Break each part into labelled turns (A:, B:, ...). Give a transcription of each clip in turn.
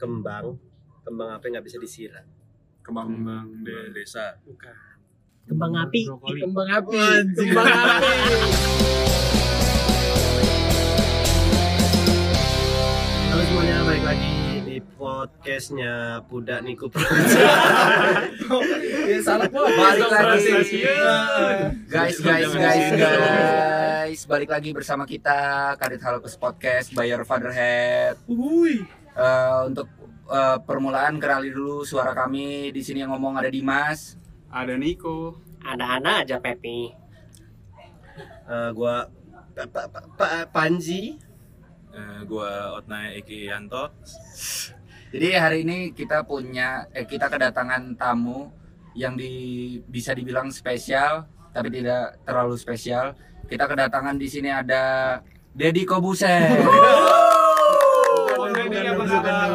A: kembang kembang apa yang nggak bisa disiram
B: kembang
C: Hmm.
D: Kembang
B: desa
A: bukan
D: Kembang api.
B: brokoli.
D: Kembang api.
B: Anjing.
D: Kembang api.
A: halo semuanya balik lagi di podcastnya Pudak Niku Pro
C: Ya salah kok. Balik lagi. Guys, guys, guys, guys. Balik lagi bersama kita Kadit Halopes Podcast by Your Fatherhead. Eh, untuk eh, permulaan kenali dulu suara kami. Di sini yang ngomong ada Dimas.
B: ada Niko
D: Ada-ada aja Pepi.
A: Eh, gua pa, pa, pa, Pa- Panji
B: Eh, gua Otnaya Eki Yanto
C: Jadi hari ini kita punya eh kita kedatangan tamu yang di bisa dibilang spesial tapi tidak terlalu spesial. Kita kedatangan di sini ada Deddy Kobusen.
B: Bukan Deddy apa kabar?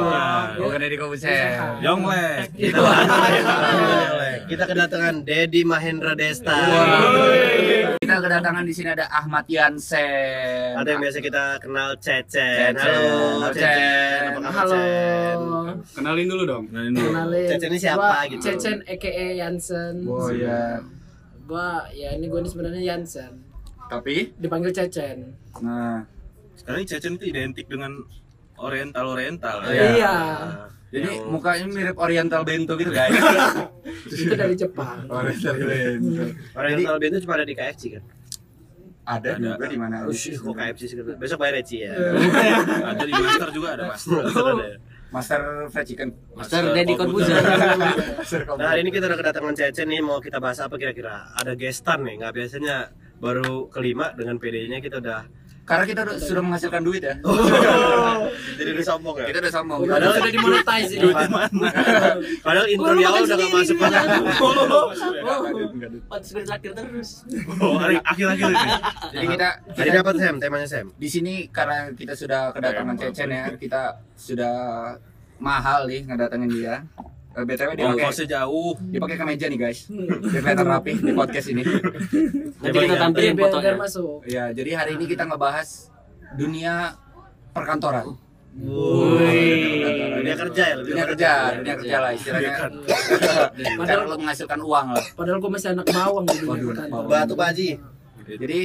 C: Iya. Bukan Deddy
A: Iya,
C: Kobusen.
B: Yonglek
A: Gitu. Iya. kita kedatangan Dedi Mahendra Desta Iya.
C: Wah. Kita kedatangan di sini ada Ahmad Yansen.
A: ada yang biasa kita kenal Cecen halo
C: Cecen.
A: Cecen apa kabar
D: Halo.
A: Cecen
B: kenalin dulu dong kenalin dulu
D: Kenalin.
A: Cecen ini siapa
D: Gua
A: gitu?
D: Cecen aka Yansen.
C: Oh iya.
D: Gua ya ini gua ini sebenarnya Yansen.
C: Tapi
D: Dipanggil Cecen.
C: nah
E: Sekarang Cecen itu identik dengan Oriental Oriental.
D: Oh,
C: Iya.
E: Nah,
C: jadi
E: yang-
C: mukanya mirip Oriental Bento gitu guys.
D: Itu dari Jepang.
C: Oriental Bento.
A: Oriental Bento cuma ada di KFC kan?
C: Ada,
E: Ada.
C: juga di mana?
A: Harus kok KFC sih Besok bayar Reci ya.
E: ada di Master juga ada Mas.
C: Master Fried Chicken.
E: Master Deddy Corbuzier.
C: Master
A: Nah hari ini kita udah kedatangan Cece nih mau kita bahas apa kira-kira? Ada gestan nih nggak biasanya baru kelima dengan PD-nya kita udah
C: Karena kita udah- sudah menghasilkan duit ya.
A: Oh. jadi udah sombong ya.
C: Kita udah sombong.
D: Udah
A: Padahal-
D: sudah dimonetize ini.
A: Duitnya mana? Padahal intro
D: Lu
A: di awal udah
D: makan
A: nggak
D: sendiri,
A: masuk.
D: makan.
C: Nggak ada duit, nggak ada duit.
D: Pantes gue diraktir terus.
A: Oh, hari akhir-akhir ini.
C: Jadi kita,
A: Jadi
C: kita
A: dapat Sam, temanya Sam.
C: di sini karena kita sudah
A: Iya,
C: kedatangan Cecen ya, kita sudah mahal nih ngedatengin dia. Eh, BTW dia
A: Oh,
C: pakai
E: Ongkosnya jauh.
C: dipakai kemeja nih guys.
A: Hmm.
C: Biar kelihatan rapi di podcast ini.
A: Nanti kita
D: Biar biar biar masuk.
C: Ya, jadi hari ini kita ngebahas dunia perkantoran.
A: Wih, dunia kerja ya lebih
C: Dunia kerja, dunia kerja lah istilahnya. Cara lo menghasilkan uang lah.
D: Iya. Padahal gua masih anak bawang kan. di dunia
C: Waduh,
D: perkantoran.
A: Batu Paji.
D: Nah,
C: Jadi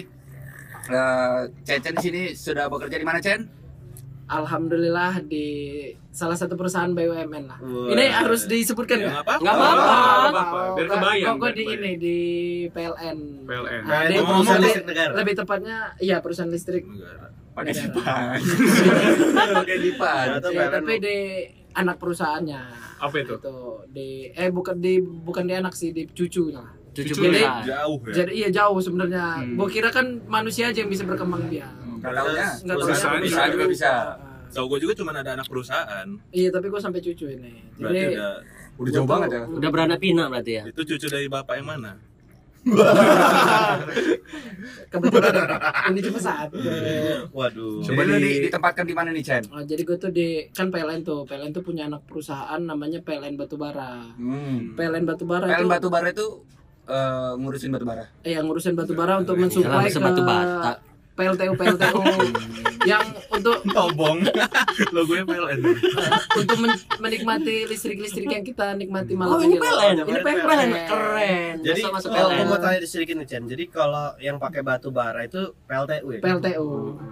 C: eh, Cecen di sini sudah bekerja di mana Cen?
D: Alhamdulillah di salah satu perusahaan BUMN lah.
A: Wah.
D: Ini harus disebutkan
E: Ya, nggak
D: nggak?
E: apa-apa.
D: Nggak apa-apa.
B: Nggak apa-apa, biar
D: Kok-
B: kebayang,
D: Kok
B: biar
D: gue di ini di PLN.
B: PLN
D: Ah,
A: Nah,
D: dia
A: itu
D: ngomong
A: perusahaan
D: pe-
A: listrik negara.
D: Lebih tepatnya iya perusahaan listrik.
C: Pakai
D: Negara.
C: dipan. Pakai dipan.
A: Ternyata
D: Ya,
A: PLN
D: tapi di anak perusahaannya.
B: apa itu
D: Itu Gitu. di eh bukan di bukan di anak sih di cucunya.
B: Cucu
D: Jadi
B: ya?
E: Jauh ya.
D: jadi iya jauh sebenarnya.
C: Hmm.
D: Gua kira kan manusia aja yang bisa berkembang biak.
C: Nggak taunya.
D: Nggak tahu
E: Perusahaan
D: ya.
C: Bisa juga bisa.
D: Ah,
E: Tahu gue juga cuma ada anak perusahaan.
D: Iya, tapi gua sampai cucu ini.
E: Berarti
D: Jadi
E: udah
C: Udah jauh banget ya.
F: Udah beranak pinak berarti ya?
E: itu cucu dari bapak yang mana?
D: kebetulan ini cuma satu.
C: Hmm.
A: Waduh.
C: Coba lu di, ditempatkan di mana nih Cen?
D: Oh, jadi gue tuh di kan PLN tuh, PLN tuh punya anak perusahaan namanya PLN Batubara.
C: Hmm.
D: PLN Batubara
C: PLN
D: itu
C: batu bara itu eh, ngurusin batu bara.
D: eh, yang ngurusin batubara untuk
C: Iya,
F: Jalan
D: mensuplai ke
F: mesin batu bata.
D: PLTU PLTU yang untuk
E: Tobong. Lo gue PLN.
D: untuk men- menikmati listrik-listrik yang kita nikmati malam
F: Oh ini
D: ini loh.
F: PLN,
A: Ini
F: ini
A: PLN.
F: PLN, keren.
A: Jadi
F: Masa masuk
A: oh,
F: PLN.
A: aku mau tanya sedikit nih Cen. Jadi kalau yang pakai batu bara itu PLTU ya?
D: PLTU.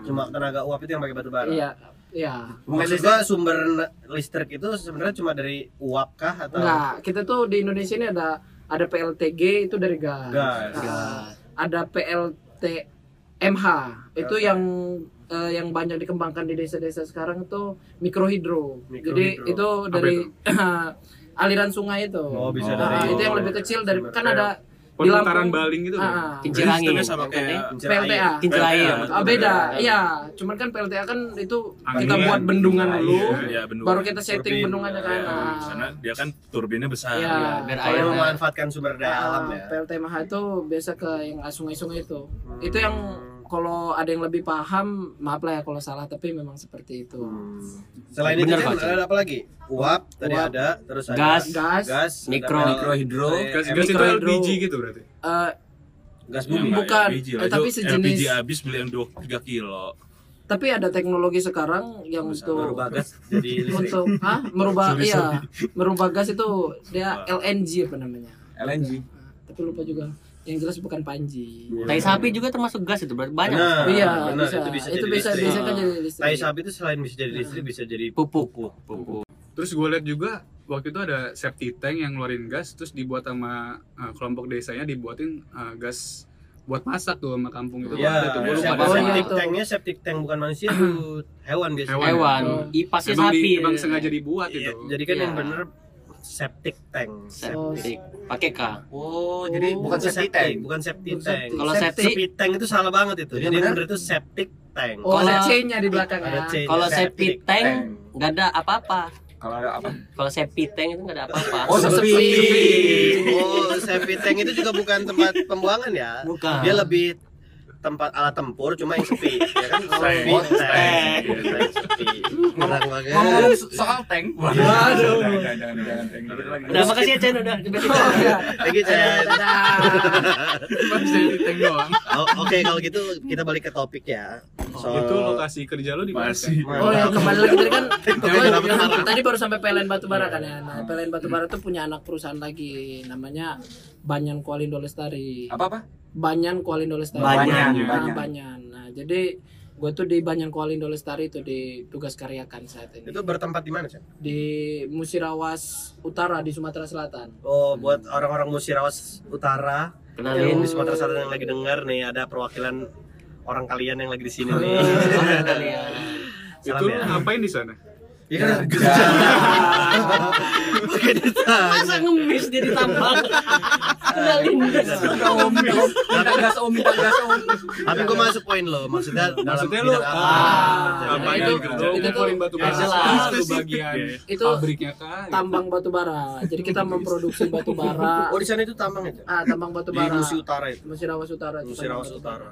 A: Cuma tenaga uap itu yang pakai batu bara.
D: Iya, iya.
A: Maksud gua sumber na- listrik itu sebenarnya cuma dari uap kah atau
D: Enggak, kita tuh di Indonesia ini ada ada PLTG itu dari gas.
A: Gas.
D: Ah, ada PLTMH itu
A: Oke.
D: yang eh, yang banyak dikembangkan di desa-desa sekarang itu mikrohidro.
A: Mikrohidro.
D: Jadi itu dari aliran sungai itu.
A: Oh, bisa
D: Ah,
A: dari
D: itu yang lebih kecil dari
A: sumber.
D: kan ada di
B: Perputaran
D: Lampung.
B: baling gitu kan?
D: Ah,
F: Kincir
E: Jadi
F: angin.
E: setengah sama
F: bukan
E: kayak
F: ya?
A: Kincir air.
D: PLTA.
F: Kincir air.
D: Ah,
F: oh,
D: beda, iya. Cuman kan PLTA kan itu kita
B: Angin.
A: kan.
D: buat bendungan
B: Iya,
D: dulu,
E: Iya, bendungan.
D: baru kita setting
A: Turbin.
D: bendungannya kan.
E: Iya,
D: Ah.
E: karena dia kan turbinnya besar.
D: Iya.
F: Iya, biar
A: Kalau
F: air.
A: memanfaatkan sumber
D: Ah,
A: daya alam ya.
D: PLTMH itu biasa ke yang sungai-sungai itu. Itu yang kalau ada yang lebih paham, maaf lah ya kalau salah, tapi memang seperti itu.
A: Hmm. Selain itu
F: Bener,
A: Cen,
F: Pak, Cen.
A: ada apa lagi? Uap tadi
D: Uap.
A: ada, terus ada
F: Gas.
D: Gas,
A: gas
F: Mikro.
A: ada-
C: Mikrohidro.
A: eh,
B: gas
A: em-
B: gas itu
D: mikrohidro.
B: LPG gitu berarti
D: eh,
A: gas
E: Ya,
A: bumi.
E: nggak,
D: Bukan,
E: LPG lah.
D: eh, tapi
E: Itu
D: sejenis-
E: LPG habis beli yang 2 3 kilo.
D: tapi ada teknologi sekarang yang
A: baru
D: untuk
A: bagas jadi listrik
D: untuk ah merubah
E: Sorry,
D: iya merubah gas itu dia LNG apa namanya
C: LNG.
D: tapi lupa juga yang jelas bukan panji
F: Tai sapi juga termasuk gas itu berarti banyak.
A: Benar.
F: Iya.
D: iya
A: Nah, benar,
D: bisa
A: itu
D: itu
A: bisa jadi
D: bisa bisa,
A: listrik.
D: kan jadi listrik
A: tai sapi itu selain bisa jadi listrik bisa jadi
F: Pupuk.
B: Terus gue lihat juga waktu itu ada safety tank yang ngeluarin gas terus dibuat sama eh, kelompok desanya dibuatin eh, gas buat masak tuh sama kampung itu. Waktu
A: Ya,
B: itu gua lupa
A: septic
D: siapa
B: ada safety
D: sih?
A: septic
D: itu.
A: tanknya septic tank bukan manusia itu hewan biasanya.
F: Hewan.
B: Oh.
F: Ipasnya
B: emang, di-
F: sapi.
B: emang sengaja dibuat
A: Iya,
B: itu.
A: jadi kan
F: Iya.
A: yang bener septic tank.
F: Septic. Pakai K.
C: Oh, jadi bukan
A: Itu
C: safety tank.
A: bukan septic
D: Bukan
A: tank.
F: Kalau septic,
A: septic tank itu salah banget itu.
C: Iya,
A: Jadi yang
C: benar.
A: bener itu septic tank.
D: oh ada
F: Kalau-
D: C-nya di belakang
A: Ada
D: ya
A: C.
F: kalau septic tank nggak ada apa-apa.
C: Kalau ada apa?
F: Kalau septic tank itu nggak ada apa-apa.
C: Oh, sepi.
A: Oh, septic tank itu juga bukan tempat pembuangan ya.
F: Bukan.
A: Dia lebih tempat alat tempur cuma yang sepi ya kan sepi
C: Oh,
A: tank sepi Benar banget.
C: Ngomong soal tank.
D: Waduh.
C: ya. Jangan, jangan, jangan, tank. Gitu lagi.
F: Udah makasih ya Chen udah.
A: Thank you, Chen.
B: Cuma safety tank doang.
A: Oh, Oke kalau gitu kita balik ke topik ya. Soal
B: itu lokasi kerja lu di mana?
E: Masih.
A: Mantap.
D: Oh ya kembali lagi tadi kan
A: Jangan, jangan,
D: oh, ya,
A: jangan.
D: tadi baru sampai PLN Batubara kan ya. Nah, PLN Batubara tuh punya anak perusahaan lagi namanya Banyan Kualindo Lestari.
C: Apa apa?
D: Banyan Kualindo Lestari.
C: Banyan,
D: Nah,
C: Banyan.
D: Banyan. Nah, jadi gue tuh di Banyan Kualindo Lestari itu di tugas karyakan saat ini.
A: itu bertempat di mana, Chan?
D: Di Musirawas Utara di Sumatera Selatan.
A: Oh, buat orang-orang Musirawas Utara yang
F: Kenalin.
A: di Sumatera Selatan yang lagi dengar nih ada perwakilan orang kalian yang lagi di sini nih.
F: Kenalin.
B: Itu
A: Salam
B: lu
A: ya.
B: ngapain di sana?
A: Iya kan? Pakai ditanya.
F: Masa ngemis dia ditambah? Kenalin.
C: Enggak om, enggak gas om, enggak gas om.
A: Tapi gue masuk poin lo, maksudnya dalam
B: Maksudnya lu
A: bidang apa?
B: ah,
A: Kerjaan.
B: ngapain
D: itu-
B: lu kerja?
D: itu tuh-
B: Ngumpulin batu bara.
F: Ya, jelas.
B: Lu bagian
D: Itu
B: pabriknya kah? gitu?
D: tambang batubara. Jadi kita memproduksi batubara.
A: Oh, di sana itu tambang itu.
D: Ah, tambang
A: Di
D: batubara.
A: Musi Utara itu.
D: Musirawas Utara. itu
A: Musirawas
D: tambang
A: Utara.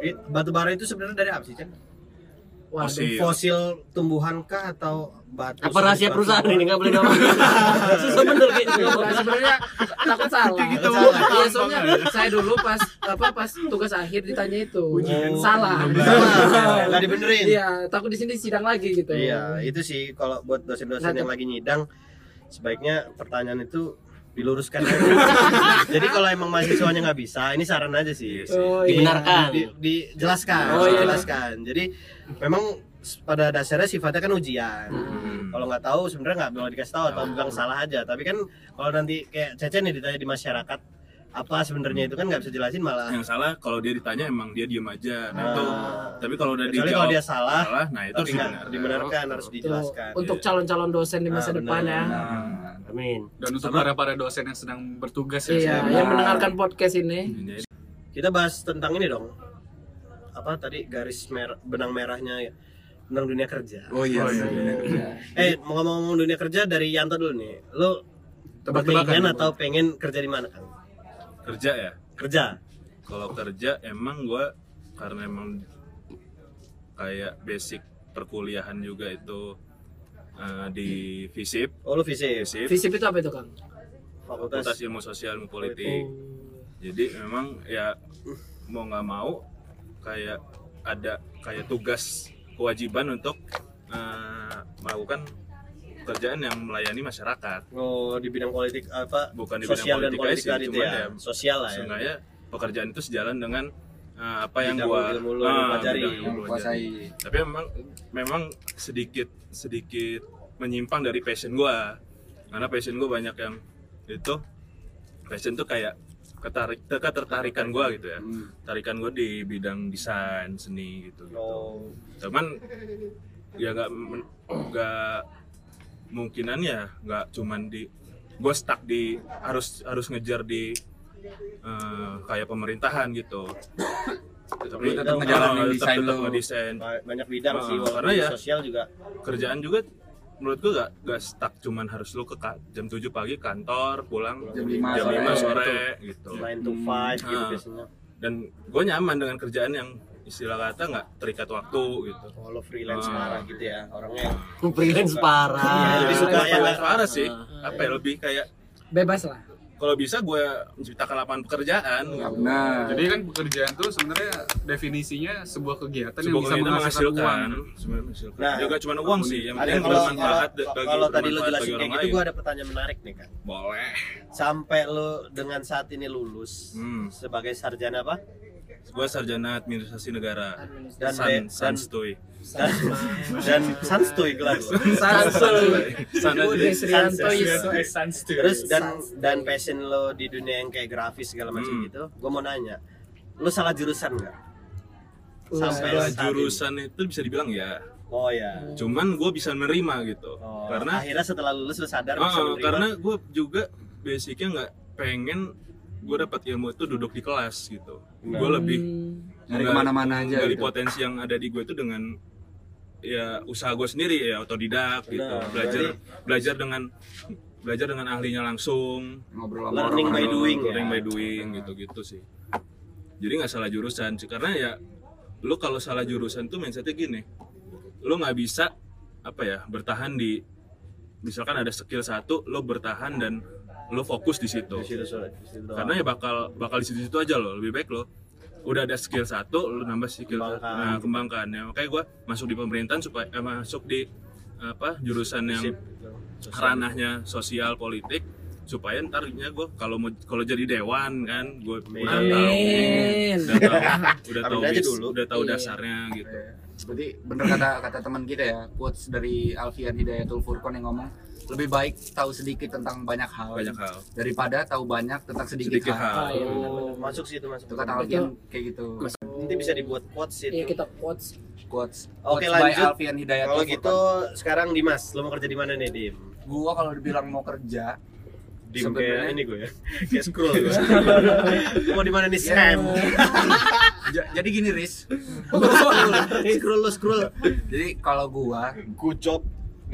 A: Eh, Batu bara itu sebenarnya dari apa sih, Chan?
D: Waduh.
B: Fosil.
A: Fosil tumbuhan kah atau batu?
F: Apa rahasia
A: batu-
F: perusahaan ini nggak boleh ngomong? Susah bener kayak gitu. ngomong.
D: Nah, sebenarnya takut salah.
B: Gitu,
D: Takut salah.
B: gampang
D: Iya, soalnya
B: aja.
D: saya dulu pas apa pas tugas akhir ditanya itu.
A: Ujian.
D: Salah.
A: Oh, Salah. Nggak dibenerin.
D: Iya, takut di sini sidang lagi gitu.
A: Iya, itu sih kalau buat dosen-dosen
D: Nah,
A: yang lagi nyidang sebaiknya pertanyaan itu diluruskan. aja. Jadi kalau emang mahasiswanya nggak bisa, ini saran aja sih.
D: Oh, iya.
F: Dibenarkan.
A: Di- dijelaskan,
D: Oh, iya.
A: dijelaskan. Jadi memang s- pada dasarnya sifatnya kan ujian.
E: Hmm.
A: Kalau nggak tahu sebenarnya nggak boleh dikasih tahu
E: Oh.
A: atau bilang salah aja. Tapi kan kalau nanti kayak Cece nih ditanya di masyarakat apa sebenarnya itu kan nggak bisa jelasin malah.
E: yang salah kalau dia ditanya emang dia diem aja nah,
A: Ah.
E: itu tapi kalau udah
A: Kecuali
E: dijawab
A: kalau dia salah,
E: salah nah itu harus
A: tapi nggak
E: dibenarkan.
A: dibenarkan harus
D: Tuh,
A: dijelaskan. Iya.
D: Untuk calon-calon dosen di masa
A: Ah,
D: depan ya.
A: benar.
C: Nah,
F: Amin.
B: Dan untuk para para dosen yang sedang bertugas ya.
D: Iya,
B: sedang-
D: yang mendengarkan podcast ini.
E: Jadi,
A: kita bahas tentang ini dong apa tadi garis merah benang merahnya ya tentang dunia kerja
C: Oh iya,
B: Oh, iya.
C: dunia kerja.
A: eh mau ngomong-ngomong dunia kerja dari Yanto dulu nih lo
B: Tebak-tebakan.
A: berkeinginan atau pengen kerja di mana kan
E: kerja ya
A: kerja
E: kalau kerja emang gua karena emang kayak basic perkuliahan juga itu eh, di FISIP
A: oh lo visip
E: FISIP
D: Visip itu apa itu, Kang?
E: Iya, Fakultas
A: fakultas
E: iya. Ilmu Sosial dan Politik jadi memang ya mau nggak mau kayak ada kayak tugas kewajiban untuk eh, melakukan kerjaan yang melayani masyarakat
A: oh di bidang politik apa
E: bukan di
A: sosial dan
E: bidang politik
A: politik
E: aja sih,
A: itu
E: cuman
A: ya
E: ya,
A: sosial lah ya
E: seenggaknya pekerjaan itu sejalan dengan eh, apa yang
A: Bidang
E: gua
A: ilmu lu yang
E: ah,
A: pelajari.
E: bidang ilmu
C: Yang
E: gua pelajari.
C: kuasai.
E: tapi memang memang sedikit sedikit menyimpang dari passion gua karena passion gua banyak yang itu passion tuh kayak ketarik ketertarikan gua gitu ya
C: Hmm.
E: tarikan gue di bidang desain seni gitu
A: oh
E: cuman ya nggak men- nggak mungkinan ya nggak cuman di gue stuck di harus harus ngejar di eh, kayak pemerintahan gitu
C: Lu
E: tapi
C: tetap
E: oh,
C: ngejalanin
E: tetap-
C: desain
E: tetap
C: lu.
E: ngedesain
A: ba- banyak bidang
E: Ah,
A: sih walaupun
E: karena ya-
A: sosial juga
E: kerjaan juga menurut gue gak, nggak stuck cuman harus lu ke ka- jam 7 pagi kantor pulang
C: Jam lima
E: jam
C: sore. Iya,
E: lima sore gitu
A: 9 to 5 gitu
E: Ah.
A: biasanya
E: dan gue nyaman dengan kerjaan yang istilah kata nggak terikat waktu gitu
A: kalau freelance
E: Ah.
A: parah gitu ya orangnya
F: Freelance parah.
A: Iya,
E: lebih suka
A: yang iya.
E: yang parah sih apa ya lebih kayak
D: Bebas lah.
E: kalau bisa gue menciptakan lapangan pekerjaan
A: Iya,
E: gitu.
C: Nah,
B: Jadi kan pekerjaan tuh sebenarnya definisinya sebuah kegiatan
E: sebuah
B: yang bisa
E: kegiatan
B: menghasilkan
E: menghasilkan
B: uang.
E: sebenarnya menghasilkan
A: Nah,
E: juga cuma Ya, uang sih yang
A: Ada
E: penting
A: kalau
E: bermanfaat
A: kalau-
E: bagi-
A: kalau tadi lo
E: bermanfaat
A: jelasin kayak
E: bagi orang
A: gitu,
E: lain.
A: gue ada pertanyaan menarik nih kan.
E: boleh
A: Sampai lo dengan saat ini lulus
E: Hmm.
A: sebagai sarjana apa?
E: gue sarjana administrasi negara
A: Dan
E: San,
A: dan-
E: San Stoy
A: dan dan sanstuy gelar lo.
E: San
A: Iya,
D: Budi Srianto
A: Sanjay.
D: is-
A: Terus dan dan passion lo di dunia yang kayak grafis segala macam
E: Hmm.
A: gitu. Gue mau nanya, lo salah jurusan nggak? Sampai lo
E: Nah,
A: saat ini.
E: jurusan itu bisa dibilang ya
A: Oh ya.
E: cuman gue bisa nerima gitu
A: Oh,
E: karena
A: akhirnya setelah lulus lo sadar
E: Ah,
A: bisa menerima.
E: karena gue juga basicnya nggak pengen gue dapat ilmu itu duduk di kelas gitu gue
A: Hmm.
E: lebih
C: dari
E: menggali-
C: kemana-mana aja
E: menggali
C: gitu.
E: potensi yang ada di gue itu dengan ya usaha gue sendiri ya otodidak gitu
A: Benar.
E: belajar belajar dengan belajar dengan ahlinya langsung
C: Ngobrol sama
A: Learning by
E: Orang-
C: orang-orang.
A: doing,
E: learning
A: ya.
E: by doing gitu gitu sih jadi nggak salah jurusan sih karena ya lu kalau salah jurusan tuh mindsetnya gini lu nggak bisa apa ya bertahan di misalkan ada skill satu lu bertahan dan lu fokus di situ
A: Di situ, di situ doang.
E: karena ya bakal bakal di situ-situ aja loh lebih baik lo udah ada skill satu lu nambah skill
A: Kembangkan.
E: nah, kembangkan ya makanya gua masuk di pemerintahan supaya eh, masuk di apa jurusan yang
A: Sip.
E: ranahnya sosial politik supaya ntarnya gue kalau mau kalau jadi dewan kan gue
A: Amin.
E: udah tahu
D: Amin.
E: udah tahu udah tahu
A: Amin aja
E: bis-
A: dulu.
E: udah tahu
D: Iya.
E: dasarnya gitu
C: Berarti bener kata kata teman kita ya, quotes dari Alfian Hidayatul Furqon yang ngomong lebih baik tahu sedikit tentang banyak hal
E: banyak hal
C: daripada tahu banyak tentang sedikit,
E: sedikit
C: hal.
E: hal
D: iya,
A: Oh, masuk situ masuk.
C: Itu kata Alfian kayak gitu.
D: Mas-
A: Nanti bisa dibuat quotes
D: Hmm. Iya
A: itu.
D: kita quotes
C: Quotes,
A: Oke,
C: quotes by
A: lanjut.
C: Alfian Hidayatul
A: Kalau
C: Furqon.
A: gitu sekarang Dimas, lo mau kerja di mana nih, Dim?
C: gua kalau dibilang mau kerja
A: Dim
C: Sebenarnya-
A: kayak ini gue ya. Kayak scroll gue. Lo mau di mana
C: Iya.
A: nih, Sam?
C: Ja- jadi gini Riz
A: scroll lo scroll.
C: jadi kalau gua
A: Good job.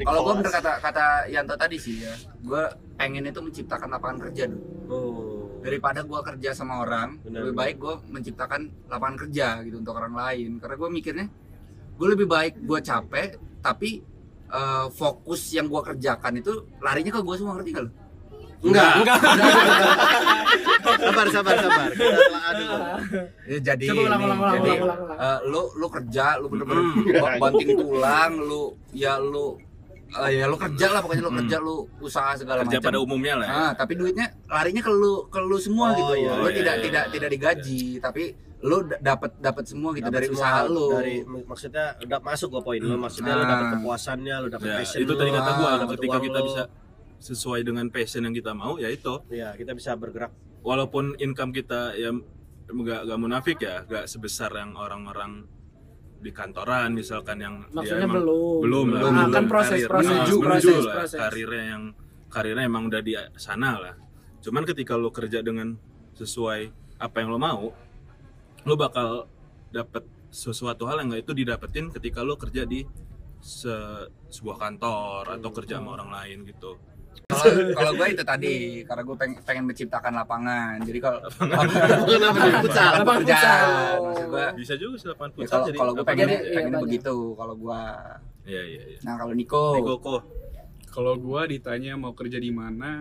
C: kalau gua bener kata kata Yanto tadi sih ya gua pengen itu menciptakan lapangan kerja dulu
A: Oh.
C: daripada gua kerja sama orang
A: Benar,
C: lebih
A: benar.
C: baik gua menciptakan lapangan kerja gitu untuk orang lain karena gua mikirnya gua lebih baik gua capek tapi eh, fokus yang gua kerjakan itu larinya ke gua semua ngerti gak lo?
A: Enggak. Enggak. sabar, sabar, sabar. Kita telah ada.
C: Ya, jadi
D: Coba ulang,
C: ini,
D: ulang, ulang,
C: jadi,
D: ulang, ulang, ulang.
C: eh, lu lu kerja lu bener-bener ba- banting tulang lu ya lu eh, ya lu kerja lah pokoknya lu
E: Hmm.
C: kerja lu usaha segala
E: kerja
C: macam
E: pada umumnya lah ya.
C: Ah, tapi duitnya larinya ke lu ke lu semua
A: Oh,
C: gitu.
A: iya,
C: lu
E: iya,
C: tidak
E: iya.
C: tidak tidak digaji, tapi lu d- dapat dapat semua gitu
A: Dapat
C: dari
A: semua,
C: usaha lu.
A: dari maksudnya udah masuk gua poin lo maksudnya lo
C: Ah.
A: dapet kepuasannya lo dapet
E: Ya,
A: passion
E: itu tadi
A: lo,
E: kata gue
A: dapet
E: ketika
A: uang
E: kita
A: lo.
E: bisa sesuai dengan passion yang kita mau ya itu
A: ya kita bisa bergerak
E: walaupun income kita ya nggak nggak munafik ya nggak sebesar yang orang-orang di kantoran misalkan yang dia Iya,
D: Maksudnya
E: emang-
D: belum. Nah,
E: belum lah
C: Belum.
E: belum.
C: Kan
D: proses,
E: Karir.
D: proses,
E: Menuju,
D: proses,
E: menuju lah.
D: proses.
E: karirnya yang karirnya emang udah di sana lah cuman ketika lo kerja dengan sesuai apa yang lo mau lo bakal dapet sesuatu hal yang nggak itu didapetin ketika lo kerja di se- sebuah kantor atau kerja
D: Hmm.
E: sama orang lain gitu
C: Kalau kalau gue itu tadi karena gue pengen, pengen menciptakan lapangan. Jadi kalau
A: kenapa nih futsal
C: lapangan
D: Lapangan
C: pekerjaan.
D: futsal.
C: Maksud gue
E: bisa juga sih lapangan
C: ya
E: futsal
C: kalau
E: jadi
C: kalau gue
E: lapangan
C: pengen
D: Iya,
C: pengen
D: banyak.
C: begitu kalau gue.
E: iya iya iya
C: Nah, kalau Niko,
E: Niko Ko.
B: Kalau gua ditanya mau kerja di mana,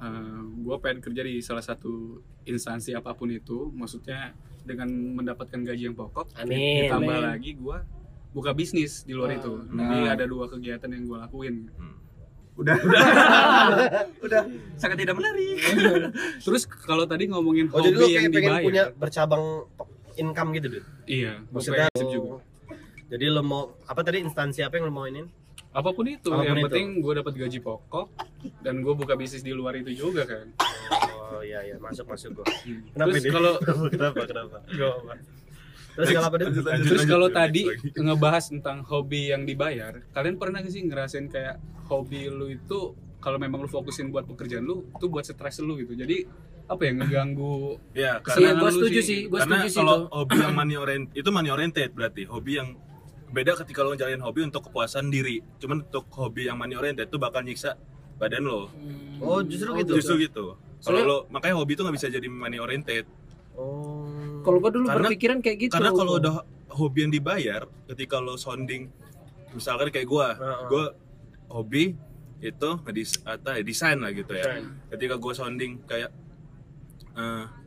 B: eh, gua pengen kerja di salah satu instansi apapun itu. Maksudnya dengan mendapatkan gaji yang pokok,
F: Amin.
C: Iya,
B: ditambah
D: Amin.
B: lagi gua buka bisnis di luar
D: Ah.
B: itu.
C: Nah.
B: Jadi ada dua kegiatan yang gua lakuin.
E: Hmm.
C: udah udah sangat tidak menarik.
B: Terus kalau tadi ngomongin
A: oh jadi lo
B: hobi
A: kayak
B: yang
A: pengen
B: dibayar,
A: punya bercabang income gitu deh
B: iya, gua
A: maksudnya
B: pengen juga.
A: jadi lo mau apa tadi instansi apa yang lo mau ini
B: Apapun itu,
A: Apapun
B: yang
A: itu.
B: penting gua dapat gaji pokok dan gua buka bisnis di luar itu juga kan.
A: oh iya iya masuk masuk gua
B: Hmm.
A: kenapa
B: Terus
A: ini?
B: kalau
A: kenapa kenapa
B: Gak apa-apa.
A: terus Oh. kalau apa deh
B: Terus kalau
E: lanjut,
B: tadi
E: lanjut
B: ngebahas tentang hobi yang dibayar, kalian pernah nggak sih ngerasain kayak hobi lu itu kalau memang lu fokusin buat pekerjaan lu, itu buat stres lu gitu. Jadi apa ya ngeganggu
E: ya
B: Karena
E: karena
D: Iya, gue
B: lu
D: setuju
B: sih-
D: sih, gue
E: karena
D: setuju sih
E: kalau
D: itu.
E: hobi yang money oriented itu money oriented berarti hobi yang beda ketika lo ngejalanin hobi untuk kepuasan diri cuman untuk hobi yang money oriented itu bakal nyiksa badan lo
A: oh justru gitu
E: justru gitu kalau
D: Soalnya-
E: lo makanya hobi itu nggak bisa jadi money oriented
A: oh
D: Kalau gua dulu
E: Karena-
D: berpikiran kayak gitu.
E: karena kalau udah hobi yang dibayar ketika lo sounding misalkan kayak gua
A: Heeh.
E: gua hobi itu ngedis atau ya, desain lah gitu ya
A: Desain.
E: ketika gue sounding kayak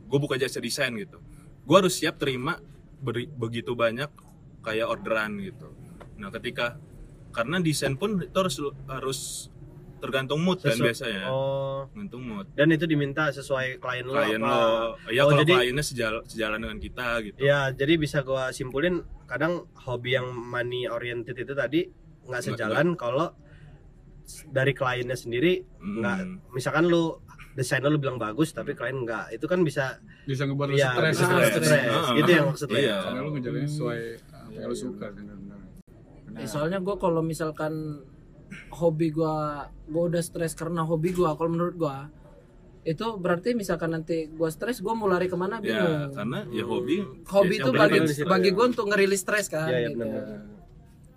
E: gue buka jasa desain gitu gue harus siap terima beri- begitu banyak kayak orderan gitu nah ketika karena desain pun itu harus harus tergantung mood kan
A: Sesu-
E: biasanya
A: Oh,
E: tergantung mood
A: dan itu diminta sesuai klien lo
E: klien
A: apa?
E: lo ya
A: Oh,
E: kalau
A: jadi-
E: kliennya sejalan, sejalan dengan kita gitu
A: Ya, jadi bisa gua simpulin kadang hobi yang money oriented itu tadi nggak sejalan kalau dari kliennya sendiri
E: Hmm.
A: nggak misalkan lu desainer lu bilang bagus tapi klien nggak itu kan bisa
B: bisa ngebuat lu
A: ya
E: Ah,
B: stres
A: bisa
B: gitu ya.
A: stres, gitu yang maksud lu
E: Iya.
A: ya
B: karena lu ngejalanin sesuai apa yang lu suka kan
D: Ya, soalnya gue kalau misalkan hobi gue gue udah stres karena hobi gue kalau menurut gue itu berarti misalkan nanti gue stres gue mau lari
A: Nah.
E: ya
D: kemana bingung
E: karena ya hobi
D: hobi
E: ya,
D: itu
E: yang
D: bagi
E: penting-
A: di situ,
D: bagi
A: ya.
D: gue untuk ngerilis stres kan
A: Iya, iya,
D: gitu.
A: benar-benar.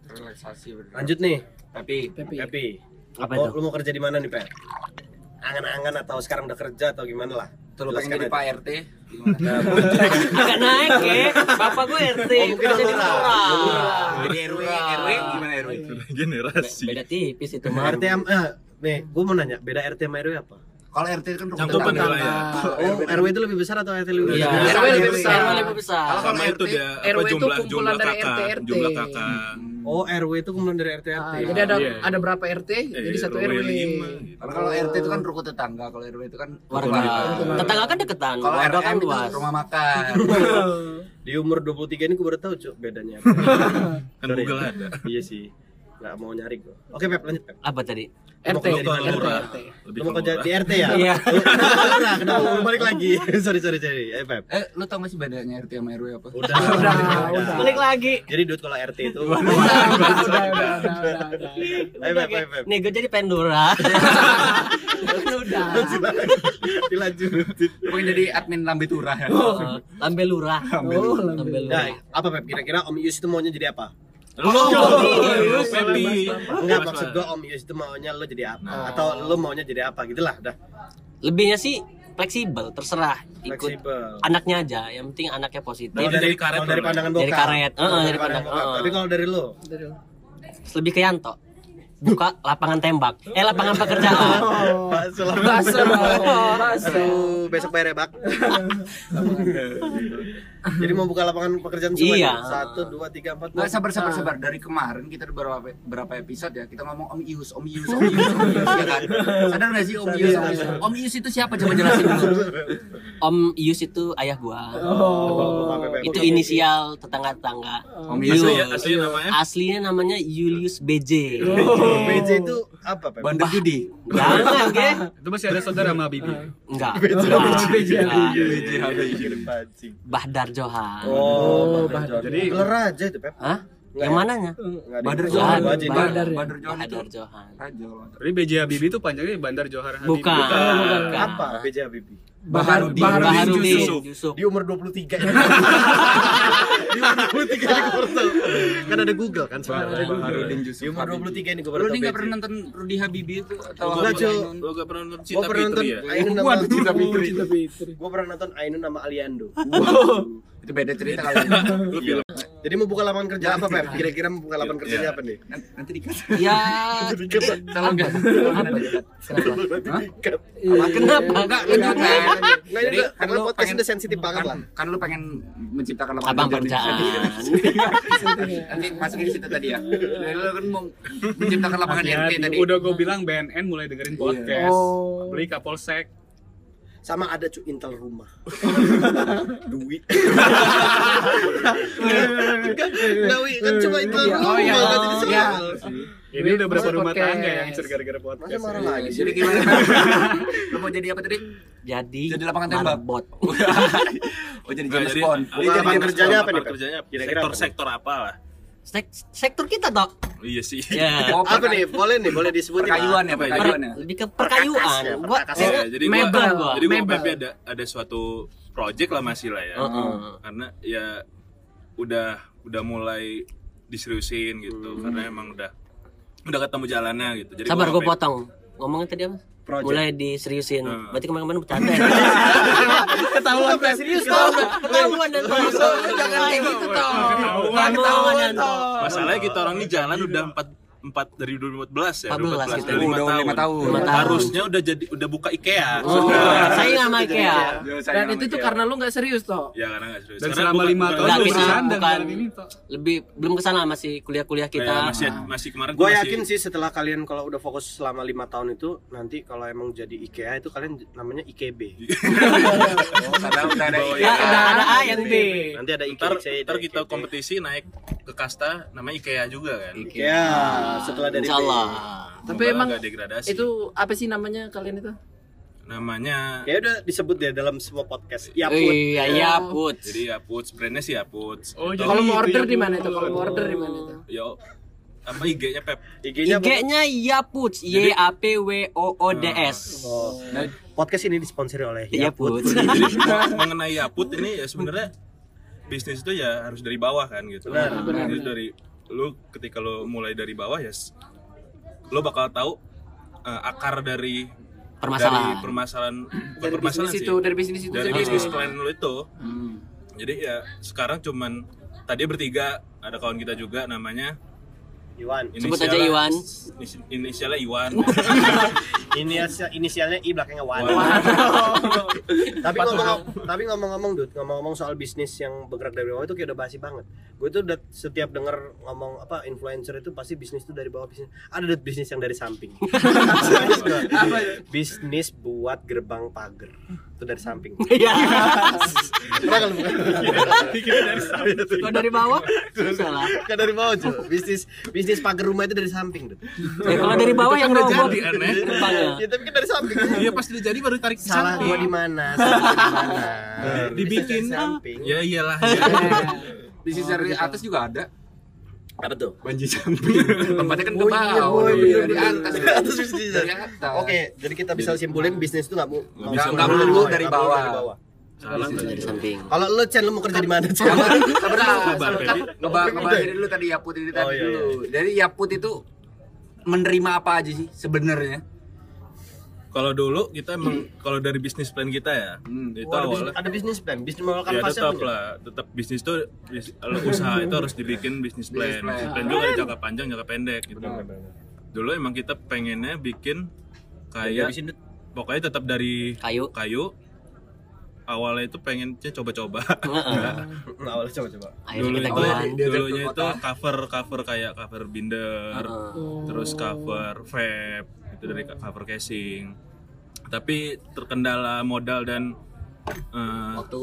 C: relaksasi bener.
A: lanjut nih
C: tapi
D: Pepi.
A: Pepi
F: Apa
A: Mau-
F: itu?
A: lu mau kerja di mana nih Pe? angan-angan atau sekarang udah kerja atau gimana lah
C: tuh lu
A: Jelaskan
C: pengen jadi
A: aja.
C: Pak Nah, RT gimana
F: Agak naik ya. Bapak gue RT.
A: Oh, mungkin
F: kerja
A: lurah.
F: di lurah.
A: Lurah.
C: jadi RW RW gimana RW
E: generasi
F: Beda tipis itu
A: Nah,
F: mah.
A: RT am- eh, nih gue mau nanya beda RT sama RW apa
C: kalau RT kan rumah
E: Cangkupan
C: tangga.
E: wilayah.
C: Kalau
A: oh RW itu lebih besar atau RT lebih
F: Iya.
A: besar
C: RW lebih besar.
F: RW lebih besar.
C: Kalau
E: sama
C: RT
E: itu dia apa
D: RW itu
E: jumlah
D: kumpulan
E: jumlah
D: dari
E: kakak
D: RT.
E: jumlah kakak
A: oh RW itu kemudian dari RT RT
D: Ah, jadi ada
B: Iya.
D: ada berapa RT jadi
E: Eh,
D: satu RW
E: lima, gitu.
C: Karena kalau RT itu kan rukun tetangga, kalau RW itu kan
F: Warga. Tetangga kan deketan.
C: Kalau
F: Warga
C: RM
F: kan
C: itu
F: luas.
C: rumah makan.
A: di umur 23 ini gue baru tahu cuk bedanya
E: kan Google ada
A: iya sih nggak mau nyari gue oke Pep lanjut Pep
F: Apa tadi?
D: RT
A: Mau
E: Lokal
A: RT.
E: murah. Lebih
A: lu mau
E: ke
A: kerja
E: murah.
A: di RT ya
F: Iya.
A: Kenapa murah? kenapa mau balik lagi sorry sorry sorry eh Pep
C: Eh, lu tau gak sih bedanya RT sama RW apa?
A: udah
D: Udah, udah.
F: Balik lagi.
A: jadi duit kalau RT itu
D: udah udah udah udah udah, udah.
A: Ayo, Pep, Pep, Pep.
F: Nih gue jadi pendura.
D: udah
A: dilanjutin
C: Lu pengen jadi admin Lambe Turah ya?
F: Lambe Oh, lurah.
D: oh lebih
F: Lambe
A: nah
F: lurah.
A: apa Pep kira-kira Om Yus itu maunya jadi apa
E: Lu, lu, Pepi.
A: enggak maksud gue Om Yus itu maunya lo jadi apa atau lo maunya jadi apa gitu lah udah
F: Lebihnya sih fleksibel, terserah ikut
A: fleksibel
F: anaknya aja. Yang penting anaknya positif.
A: Kalau
E: Jadi
A: dari,
E: dari karet
A: kalau
E: lo,
A: dari
E: ya?
A: pandangan
F: Dari
A: bokap
F: karet, heeh,
A: Kalau
F: dari pandang-
A: bokap.
F: heeh.
A: tapi kalau dari lo
F: Lebih ke Yanto. Buka lapangan tembak. Eh lapangan pekerjaan.
A: bakso lah.
D: Bakso, bakso.
A: Aduh, besok bayar ya, Bak. Jadi mau buka lapangan pekerjaan semua.
F: Iya.
A: ya? Satu, dua, tiga, empat.
C: Nggak
A: lima.
C: sabar sabar sabar dari kemarin kita udah berapa berapa episode ya kita ngomong Om Ius Om Ius Om Ius Om Ius ya kan sadar nggak sih Om Ius Om Ius Om Ius itu siapa coba jelasin dulu
F: Om Yus itu ayah gua.
A: Oh,
F: itu inisial tetangga-tetangga.
C: Om iya, Ius
E: Asli
F: Yus.
E: ya, asli namanya.
F: Aslinya namanya Julius BJ.
A: Oh. BJ itu apa, Pak?
C: bandar judi
F: Jangan, ge.
B: itu masih ada saudara sama bibi
A: Ah.
F: Enggak.
D: BJ.
A: Iya.
F: Enggak.
C: Iya,
A: BJ pancing.
F: Bahdar Johan.
A: Oh, iya,
D: Badar.
A: jadi
B: Jadi-
A: gelar aja itu, Pep.
F: Hah? Yang mananya?
A: Nggak ada
C: Badar
A: yang-
C: Johan
A: Gua aja ini.
C: Badar
D: Badar ya?
C: Badar Johan itu
F: Bahdar Johan.
C: Raja
B: jadi BJ Habibie itu panjangnya Bandar Johar Habibie
F: Bukan. Bukan.
A: Apa? BJ Habibie.
C: Baharudin
F: Baharudin
C: Yusuf.
F: Yusuf.
A: Di umur 23 ini. Di umur 23 ini gue baru tahu. Kan ada Google kan sekarang. Ada Google.
C: Baharudin Yusuf
A: Di umur
C: Habibie.
A: 23 ini gue baru
C: Lu
A: tahu.
C: nih nggak
A: BJ.
C: pernah nonton Rudy Habibie itu atau
A: Nggak,
C: apa?
A: Cuk.
E: Lu gak pernah nonton
A: Gua
E: Cinta
A: pernah nonton
E: Fitri ya?
A: Ainun sama
C: Waduh, Cinta Fitri.
D: Cinta Fitri.
A: Gue pernah nonton Ainun sama Aliando.
C: itu beda cerita kali
E: Lu film.
A: Jadi mau buka lapangan kerja apa, Pep? Kira-kira mau buka lapangan kerjanya apa nih?
C: nanti dikasih
F: Ya.
C: kalau nggak
F: Apa? Kenapa?
D: Iya.
F: Kenapa?
C: Enggak, lanjut kan.
A: Enggak, ini enggak, karena podcast ini sensitif banget lah.
C: Kan lu pengen menciptakan
F: Abang
C: lapangan kerja
F: pekerjaan.
C: di Nanti masukin di situ tadi ya. Dari lu kan mau menciptakan lapangan RT
B: Hati-hati.
C: tadi.
B: udah gue bilang BNN mulai dengerin
A: Iya.
B: podcast
D: Oh.
B: beli kapolsek
A: Sama ada cu intel rumah. Duit. Enggak, Wi, kan cuma intel
D: Iya,
A: rumah,
D: oh, iya.
A: enggak jadi
D: Iya.
A: soal.
B: ini udah berapa
D: Masa
B: rumah
D: podcast?
B: tangga yang hancur gara-gara
A: Masa
B: podcast
A: marah
B: ya?
A: lagi sih?
C: Jadi gimana? Lu mau jadi apa tadi?
F: Jadi
C: Jadi lapangan tembak.
F: marbot.
C: Oh jadi
E: Nggak,
C: James
E: jadi-
C: Bond.
E: apa-
A: Jadi
E: apa-
A: lapangan kerjanya apa nih,
E: lapangan
A: Pak?
E: kerjanya apa?
A: Kira-kira apa nih?
E: Sektor-sektor apa lah?
F: Sek- sektor kita, Dok.
E: Iya sih.
F: Ya.
C: Oh,
A: Apa nih? Boleh nih, boleh disebutin.
C: Perkayuan ya,
E: Apa ini?
C: perkayuan ya.
F: Lebih ke
A: Perkakas ya,
F: perkayuan. Gua
A: perkakas.
E: Oh,
F: kayaknya
E: ya, jadi gua,
F: mebel gua.
E: jadi gua
D: Mebel.
E: Pepe ada ada suatu project lah masih lah ya.
F: Heeh.
E: Karena ya udah udah mulai diseriusin gitu
A: Hmm.
E: karena emang udah udah ketemu jalannya gitu. Jadi
F: Sabar,
E: gua
F: gue potong. Ngomongnya tadi apa?
A: Project.
F: Mulai diseriusin.
E: Hmm.
F: Berarti kemarin-kemarin bercanda ya?
A: Ketahuan enggak serius tau.
F: Ketahuan dan
C: Jangan kayak gitu toh.
F: Ketahuan dan
E: Masalahnya kita orang ini jalan udah empat empat dari 2014 ya 2014,
F: 14 gitu.
E: udah lima
C: Udah lima tahun.
F: Lima tahun.
E: harusnya udah jadi udah buka IKEA
F: Oh, saya nggak sama IKEA.
D: Dan itu tuh karena lu nggak serius toh.
E: ya karena nggak serius
B: Dan
E: Karena
B: selama
E: bukan-
B: lima
E: bukan-
B: tahun
F: Nggak
B: lu
F: bisa,
B: bersandar
F: bukan.
B: dengan ini toh.
F: Lebih belum ke sana masih kuliah-kuliah kita.
E: Kayak Oh, iya, masih masih kemarin tuh
A: Gue
E: masih-
A: yakin sih setelah kalian kalau udah fokus selama lima tahun itu nanti kalau emang jadi IKEA itu kalian j- namanya IKB.
C: Karena udah ada
E: Bawah ya.
F: Ya,
D: Iya.
F: udah ada A yang B.
A: Nanti ada
E: ntar
A: IKC,
E: ntar
A: ada
E: kita
A: IKB.
E: kompetisi naik ke kasta namanya IKEA juga kan
A: IKEA Ya, setelah dari B.
F: Gitu. Insyaallah.
D: Tapi
E: Semoga
D: emang
E: nggak degradasi
D: Itu apa sih namanya kalian itu?
E: namanya
A: Ya udah disebut deh dalam semua podcast. Ya pun.
F: Iya, iya, put.
E: jadi Yaputs brandnya sih Yaputs
B: Oh,
E: Itu-
B: jadi-
D: Kalau mau
B: itu
D: order
B: yang
D: di
B: gua-
D: mana itu? Kalau mau order di mana itu?
E: yo apa IG-nya Pep
A: IG-nya apa?
F: IG-nya Yaputs, iya, Y A P W O O D S. Iya,
A: Oh. Podcast ini disponsori oleh Yaput.
F: Yaputs.
E: jadi mo- mengenai Yaput ini ya sebenarnya bisnis itu ya harus dari bawah kan gitu
A: Benar,
E: Jadi
A: benar,
E: dari lu ketika lu mulai dari bawah ya s- lu bakal tahu eh, akar dari dari
F: Permasalahan.
E: permasalahan bukan
D: Dari
E: permasalahan
D: bisnis
E: sih
D: itu, dari bisnis itu
E: dari
D: sendiri. Hmm.
E: bisnis plan lu itu jadi ya sekarang cuman tadi bertiga ada kawan kita juga namanya
A: Iwan.
F: Sebut aja Iwan.
E: inis- inisialnya Iwan
A: Ini inisialnya I belakangnya Wan.
E: Wan.
A: tapi ngomong tapi ngomong-ngomong Dut, ngomong-ngomong soal bisnis yang bergerak dari bawah itu kayak udah basi banget. Gue tuh udah setiap denger ngomong apa influencer itu pasti bisnis tuh dari bawah bisnis. Ada Dut bisnis yang dari samping. Serius gua. bisnis buat gerbang pagar. Itu dari samping.
F: Iya.
A: Pernah kan lu bukan?
F: Kalau dari bawah? Salah.
A: Kan dari bawah cuy. Bisnis bisnis pagar rumah itu dari samping, Dut.
F: Eh, kalau dari bawah yang roboh.
E: jadi, aneh.
F: Depannya.
A: Ya tapi kan dari samping.
B: Iya pas udah jadi baru tarik ke
A: Salah iya.
B: samping.
A: gua di mana? Salah gua di mana?
B: Dibikin.
A: Bisnis dari samping.
E: ya iyalah
C: Di sisi dari atas juga ada.
A: Apa tuh?
C: Banji jumping. Tempatnya kan ke
D: Oh iya,
C: bawah.
D: boy,
C: Dari
D: iya,
C: dari
D: bener.
C: atas.
A: Dari atas bisnis.
C: Dari atas.
A: Oke, jadi kita bisa simpulin bisnis itu nggak mau
C: bisa. Nggak melulu dari bawah.
E: salah
F: Dari samping.
A: Kalau lo Chen lo mau kerja di mana Chen?
C: Sebentar,
E: Kabar,
C: sebentar.
E: Feby.
C: Ngebahas ngebahas dari dulu tadi Yaput ini
A: Oh,
C: tadi
A: iya,
C: dulu. Dari Yaput itu menerima apa aja sih sebenarnya?
E: kalau dulu kita emang kalau dari bisnis plan kita ya
C: Hmm.
E: itu
A: Wah, ada
E: awalnya
A: bisnis- ada bisnis plan, bisnis kan mengeluarkan
E: ya
A: fase
E: tetap
A: punya.
E: lah tetap bisnis tuh bis- kalau usaha itu harus dibikin bisnis plan
C: Bisnis plan.
E: bisnis plan juga ada jangka panjang jangka pendek gitu dulu emang kita pengennya bikin kayak pokoknya tetap dari
F: Kayu.
E: kayu awalnya itu pengennya coba-coba
A: Nah, awalnya coba-coba.
F: Akhirnya
E: dulu
F: kita
E: itu
F: jualan.
C: Dia
E: dulunya
C: ke
E: itu
C: kota.
E: cover cover kayak cover binder terus cover vape itu dari cover casing tapi terkendala modal dan eh,
C: Waktu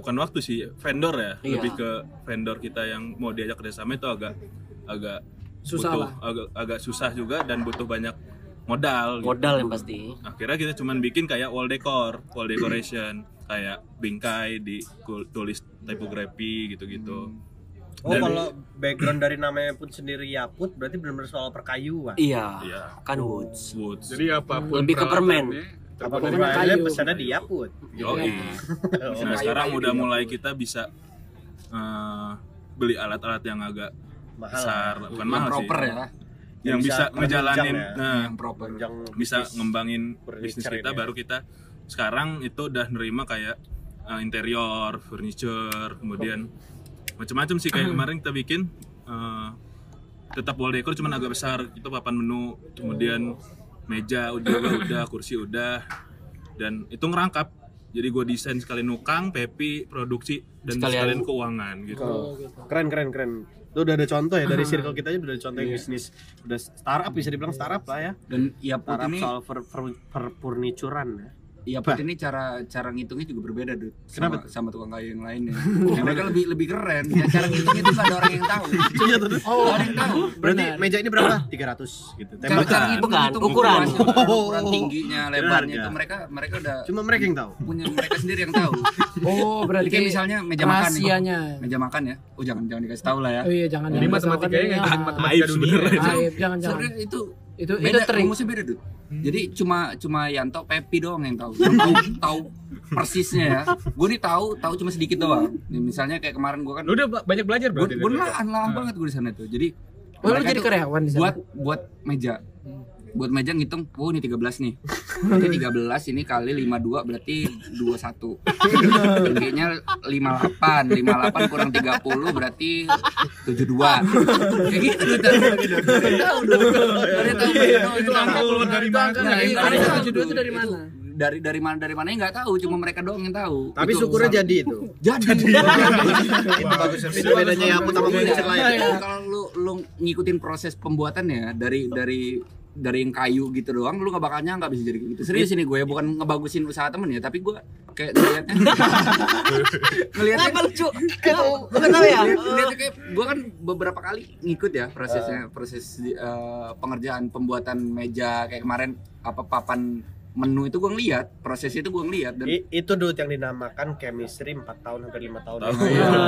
E: bukan waktu sih vendor ya
F: Iya.
E: lebih ke vendor kita yang mau diajak kerjasama itu agak agak
D: Susah
E: butuh,
D: lah.
E: agak agak susah juga dan butuh banyak modal gitu.
F: Modal yang pasti.
E: akhirnya kita cuman bikin kayak wall decor wall decoration kayak bingkai di tulis tipografi gitu-gitu
A: Oh, kalau background dari namanya pun sendiri Yaput berarti benar-benar soal perkayuan.
F: Iya.
E: Iya.
F: Kan woods.
E: woods
B: Jadi apapun
F: Lebih ke permen.
B: peralatannya,
A: Apa
B: tergantung-
A: pokoknya
D: kayu.
A: pesannya di Yaput.
E: Yoi. nah
C: Kayu-kayu
E: sekarang
C: di
E: udah
C: dapur.
E: mulai kita bisa eh, beli alat-alat yang agak
A: Mahal.
E: besar bukan
C: yang
E: mahal
C: proper
E: sih
C: ya,
E: yang
A: Yang bisa
E: bisa ngejalanin
A: menunjang ya.
E: nah,
C: yang proper.
A: Panjang
E: bisa
A: bisnis.
E: ngembangin
A: furniture
E: bisnis kita
A: ini ya.
E: baru kita sekarang itu udah nerima kayak uh, interior, furniture, kemudian macam-macam sih
A: Hmm.
E: kayak kemarin kita bikin uh, tetap wall decor cuman agak besar itu papan menu kemudian meja udah udah kursi udah dan itu ngerangkap jadi gue desain sekalian nukang, pepi, produksi dan sekalian,
F: Sekalian.
E: keuangan gitu.
A: Keren keren keren. Itu udah ada contoh ya dari circle kita aja udah ada contoh
C: Iya.
A: yang bisnis udah startup bisa dibilang startup lah ya.
C: Dan Yaput
A: Startup
C: Oh, ini
A: soal per, per, perpurnituran ya.
C: Yaput ini cara cara ngitungnya juga berbeda, Dut. Sama,
A: Kenapa
C: sama tukang kayu yang lainnya. yang mereka lebih lebih keren. Ya, cara ngitungnya itu nggak ada orang yang tahu. Iya, Oh, orang yang tahu.
A: Berarti meja ini berapa? 300 gitu.
C: Cara
A: Tembak.
C: cara
F: Bukan,
C: ngitung
F: bukan,
C: ngitung
F: ukuran.
C: kan ukurannya, ukuran tingginya,
A: Kira
C: lebarnya
A: harga.
C: itu mereka mereka udah
A: Cuma mereka yang tahu.
C: punya mereka sendiri yang tahu.
D: Oh,
C: Jadi
D: berarti
C: kayak misalnya meja makan nih.
D: rahasianya.
C: Meja makan ya. Oh, jangan jangan dikasih tahu lah ya.
D: Oh iya, jangan kan
B: Jadi matematikanya nggak jadi matematika
E: Aib
B: dunia.
E: sebenarnya.
D: Aib, jangan jangan.
C: Sebenarnya itu
D: Itu itu
C: beda
D: trik.
C: rumusnya beda Dut. Jadi cuma cuma Yanto Pepi doang yang tahu. Yang tahu, tahu persisnya ya. Gue nih tahu tahu cuma sedikit doang. Nih, misalnya kayak kemarin gue kan
B: Lu Nah, udah ba- banyak belajar
C: gue
B: berarti.
C: gue lama banget gue di sana tuh. Jadi
D: Oh, lu
C: mereka
D: jadi
C: tuh
D: karyawan di sana.
C: buat buat meja. buat meja ngitung oh ini 13 nih ini 13 ini kali 52 berarti 21 tingginya 58 58 kurang 30 berarti 72 kayak gitu tuh Baru tahu dong Baru tahu, baru tahu.
B: Itu angka keluar dari mana?
C: Nah, itu
D: Angka
C: angka
D: 72 itu dari mana?
C: dari dari mana dari mana nggak tahu cuma mereka doang yang tahu
A: Tapi
C: Itu
A: syukurnya
C: urusan-
A: jadi itu.
C: jadi
A: itu bagus.
C: ya.
A: Itu bedanya yang aku sama produser lain.
C: Iya, Kalau lu lu ngikutin proses pembuatannya dari dari dari yang kayu gitu doang lu gak bakal nyangka bisa jadi kayak gitu serius ini gue ya bukan ngebagusin usaha temen ya tapi gue kayak ngeliatnya ngeliatnya
F: Kenapa lucu? Kan, Lu kenapa ya?
C: Lihat- lihatnya kayak gue kan beberapa kali ngikut ya prosesnya proses di- eh, pengerjaan pembuatan meja kayak kemarin apa papan menu itu gue ngeliat prosesnya itu gue ngeliat dan
A: I- itu dude yang dinamakan chemistry 4 tahun hampir 5 tahun.
C: Oh,
E: Tahun.
A: lalu, ya kan?
E: Iya,
A: Dia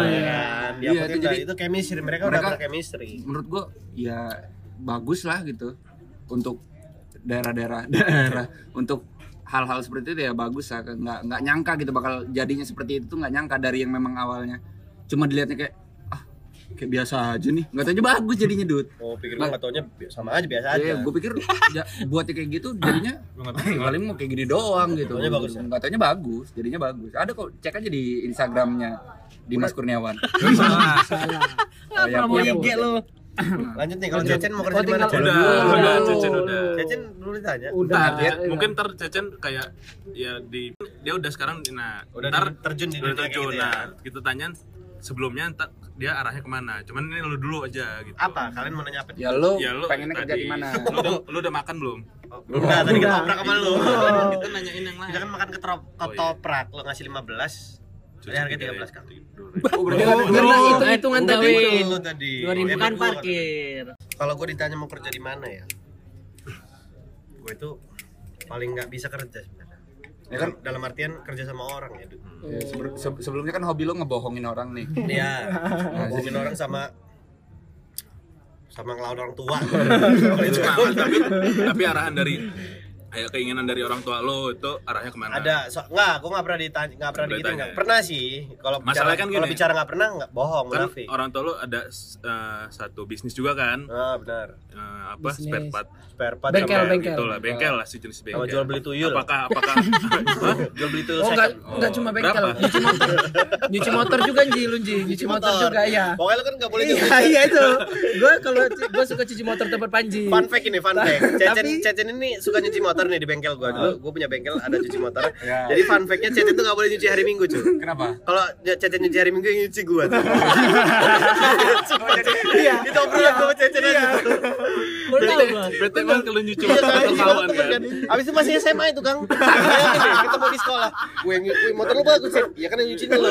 A: pakai
C: Iya, itu
A: itu,
C: jadi-
A: itu chemistry mereka, udah
C: mereka-
A: pernah chemistry.
C: menurut gue ya bagus lah gitu untuk daerah-daerah daerah untuk hal-hal seperti itu ya bagus lah nggak nggak nyangka gitu bakal jadinya seperti itu tuh nggak nyangka dari yang memang awalnya cuma dilihatnya kayak ah kayak biasa aja nih nggak tahu aja bagus jadinya dud
A: Oh, pikir gua nggak taunya bi- sama aja biasa aja.
C: ya, gue pikir ja- buatnya kayak gitu jadinya
E: Lu nggak
C: "Ah, paling mau kayak gini doang gitu
A: Katanya bagus ya?
C: nggak taunya bagus jadinya bagus ada kok cek aja di instagramnya Dimas Kurniawan oh, ya,
D: Pramono.
F: Iya,
C: ya,
D: IG
C: ya.
A: Lanjut nih kalau Cecen mau kerja
D: Oh,
A: di mana?
D: tinggal-
A: Cen?
E: Udah, udah, Cecen udah.
A: Cecen dulu ditanya.
D: Udah.
C: Ntar, ya.
D: udah.
E: Nah, mungkin ntar Cecen kayak ya di dia udah sekarang nah
A: Udah
E: ntar
A: terjun di
E: udah
A: dunia kayak
E: terjun
A: gitu ya.
E: nah kita tanyain sebelumnya ntar dia arahnya kemana cuman ini lu dulu aja gitu
A: Apa? Kalian mau nanya apa?
C: ya lo
E: ya lu
C: pengennya kerja
E: tadi,
C: di mana
E: lu udah, lu udah makan belum
A: Udah, Oh, tadi kita
D: Udah.
A: oprak sama lu.
E: kita nanyain yang lain
A: Kita kan makan ketop ketoprak, lu ngasih 15. Jadi harga 13 kan.
C: Oh, berarti
D: Oh,
C: kan-
D: karena hitung-hitungan
F: Udah,
D: tadi.
F: Win.
A: Lu tadi.
F: 2000 kan
A: Emang gua-
F: parkir.
A: Kalau gua ditanya mau kerja di mana ya? Gua itu paling nggak bisa kerja sebenarnya.
C: Ya kan?
A: dalam artian kerja sama orang ya. Du.
C: Ya, seber- se- sebelumnya kan hobi lo ngebohongin orang nih.
A: Iya, ngomongin orang sama sama ngelawan orang tua. Oh, iya.
E: Itu aman, tapi tapi arahan dari kayak keinginan dari orang tua lo itu arahnya kemana
A: Ada so, nggak? Gua nggak pernah ditanya, nggak pernah
E: Nggak
A: gitu nggak
E: ditanya.
A: pernah sih. Kalau bicara
E: Masalahnya kan
A: kalau
E: gini.
A: bicara nggak pernah nggak bohong,
E: kan
A: munafik.
E: orang tua lo ada eh, satu bisnis juga kan
A: Nah, benar.
E: Eh, apa
D: Bisnis.
E: spare part
A: Spare part
D: Bengkel,
E: Sampai
A: sama-
D: bengkel.
E: itulah bengkel lah si jenis bengkel
A: Sama jual beli tuyul.
E: apakah apakah
A: Jual beli itu
D: Oh, enggak, enggak cuma bengkel.
E: Berapa?
D: Nyuci motor. Nyuci motor juga Nji, lu Nji. Nyuci motor juga ya.
A: Pokoknya lu kan nggak boleh jual
D: Iya, iya itu. Gua kalau gua suka cuci motor tempat Panji.
A: Fun fact ini, fun fact. Cecen,
D: Tapi-
A: Cecen ini suka nyuci motor nih di bengkel gua dulu. Gua punya bengkel ada cuci motor.
E: Iya.
C: Ya.
A: Jadi fun fact-nya Cecen tuh gak boleh nyuci hari Minggu, cuy.
C: Kenapa?
A: Kalau Cecen nyuci hari Minggu yang nyuci gua. tuh.
D: Iya.
A: Itu obrolan gua sama Cecen aja. tuh.
D: Gua tahu gua.
E: berarti emang kalau nyuci
A: Iya,
E: motor
A: soalnya
E: ketahuan
A: temen
E: kan
A: kan. Abis itu masih SMA itu, Kang. Bayangin deh, Ketemu di sekolah. Gue yang nyuci motor lu bagus sih. Ya kan yang nyuci lu.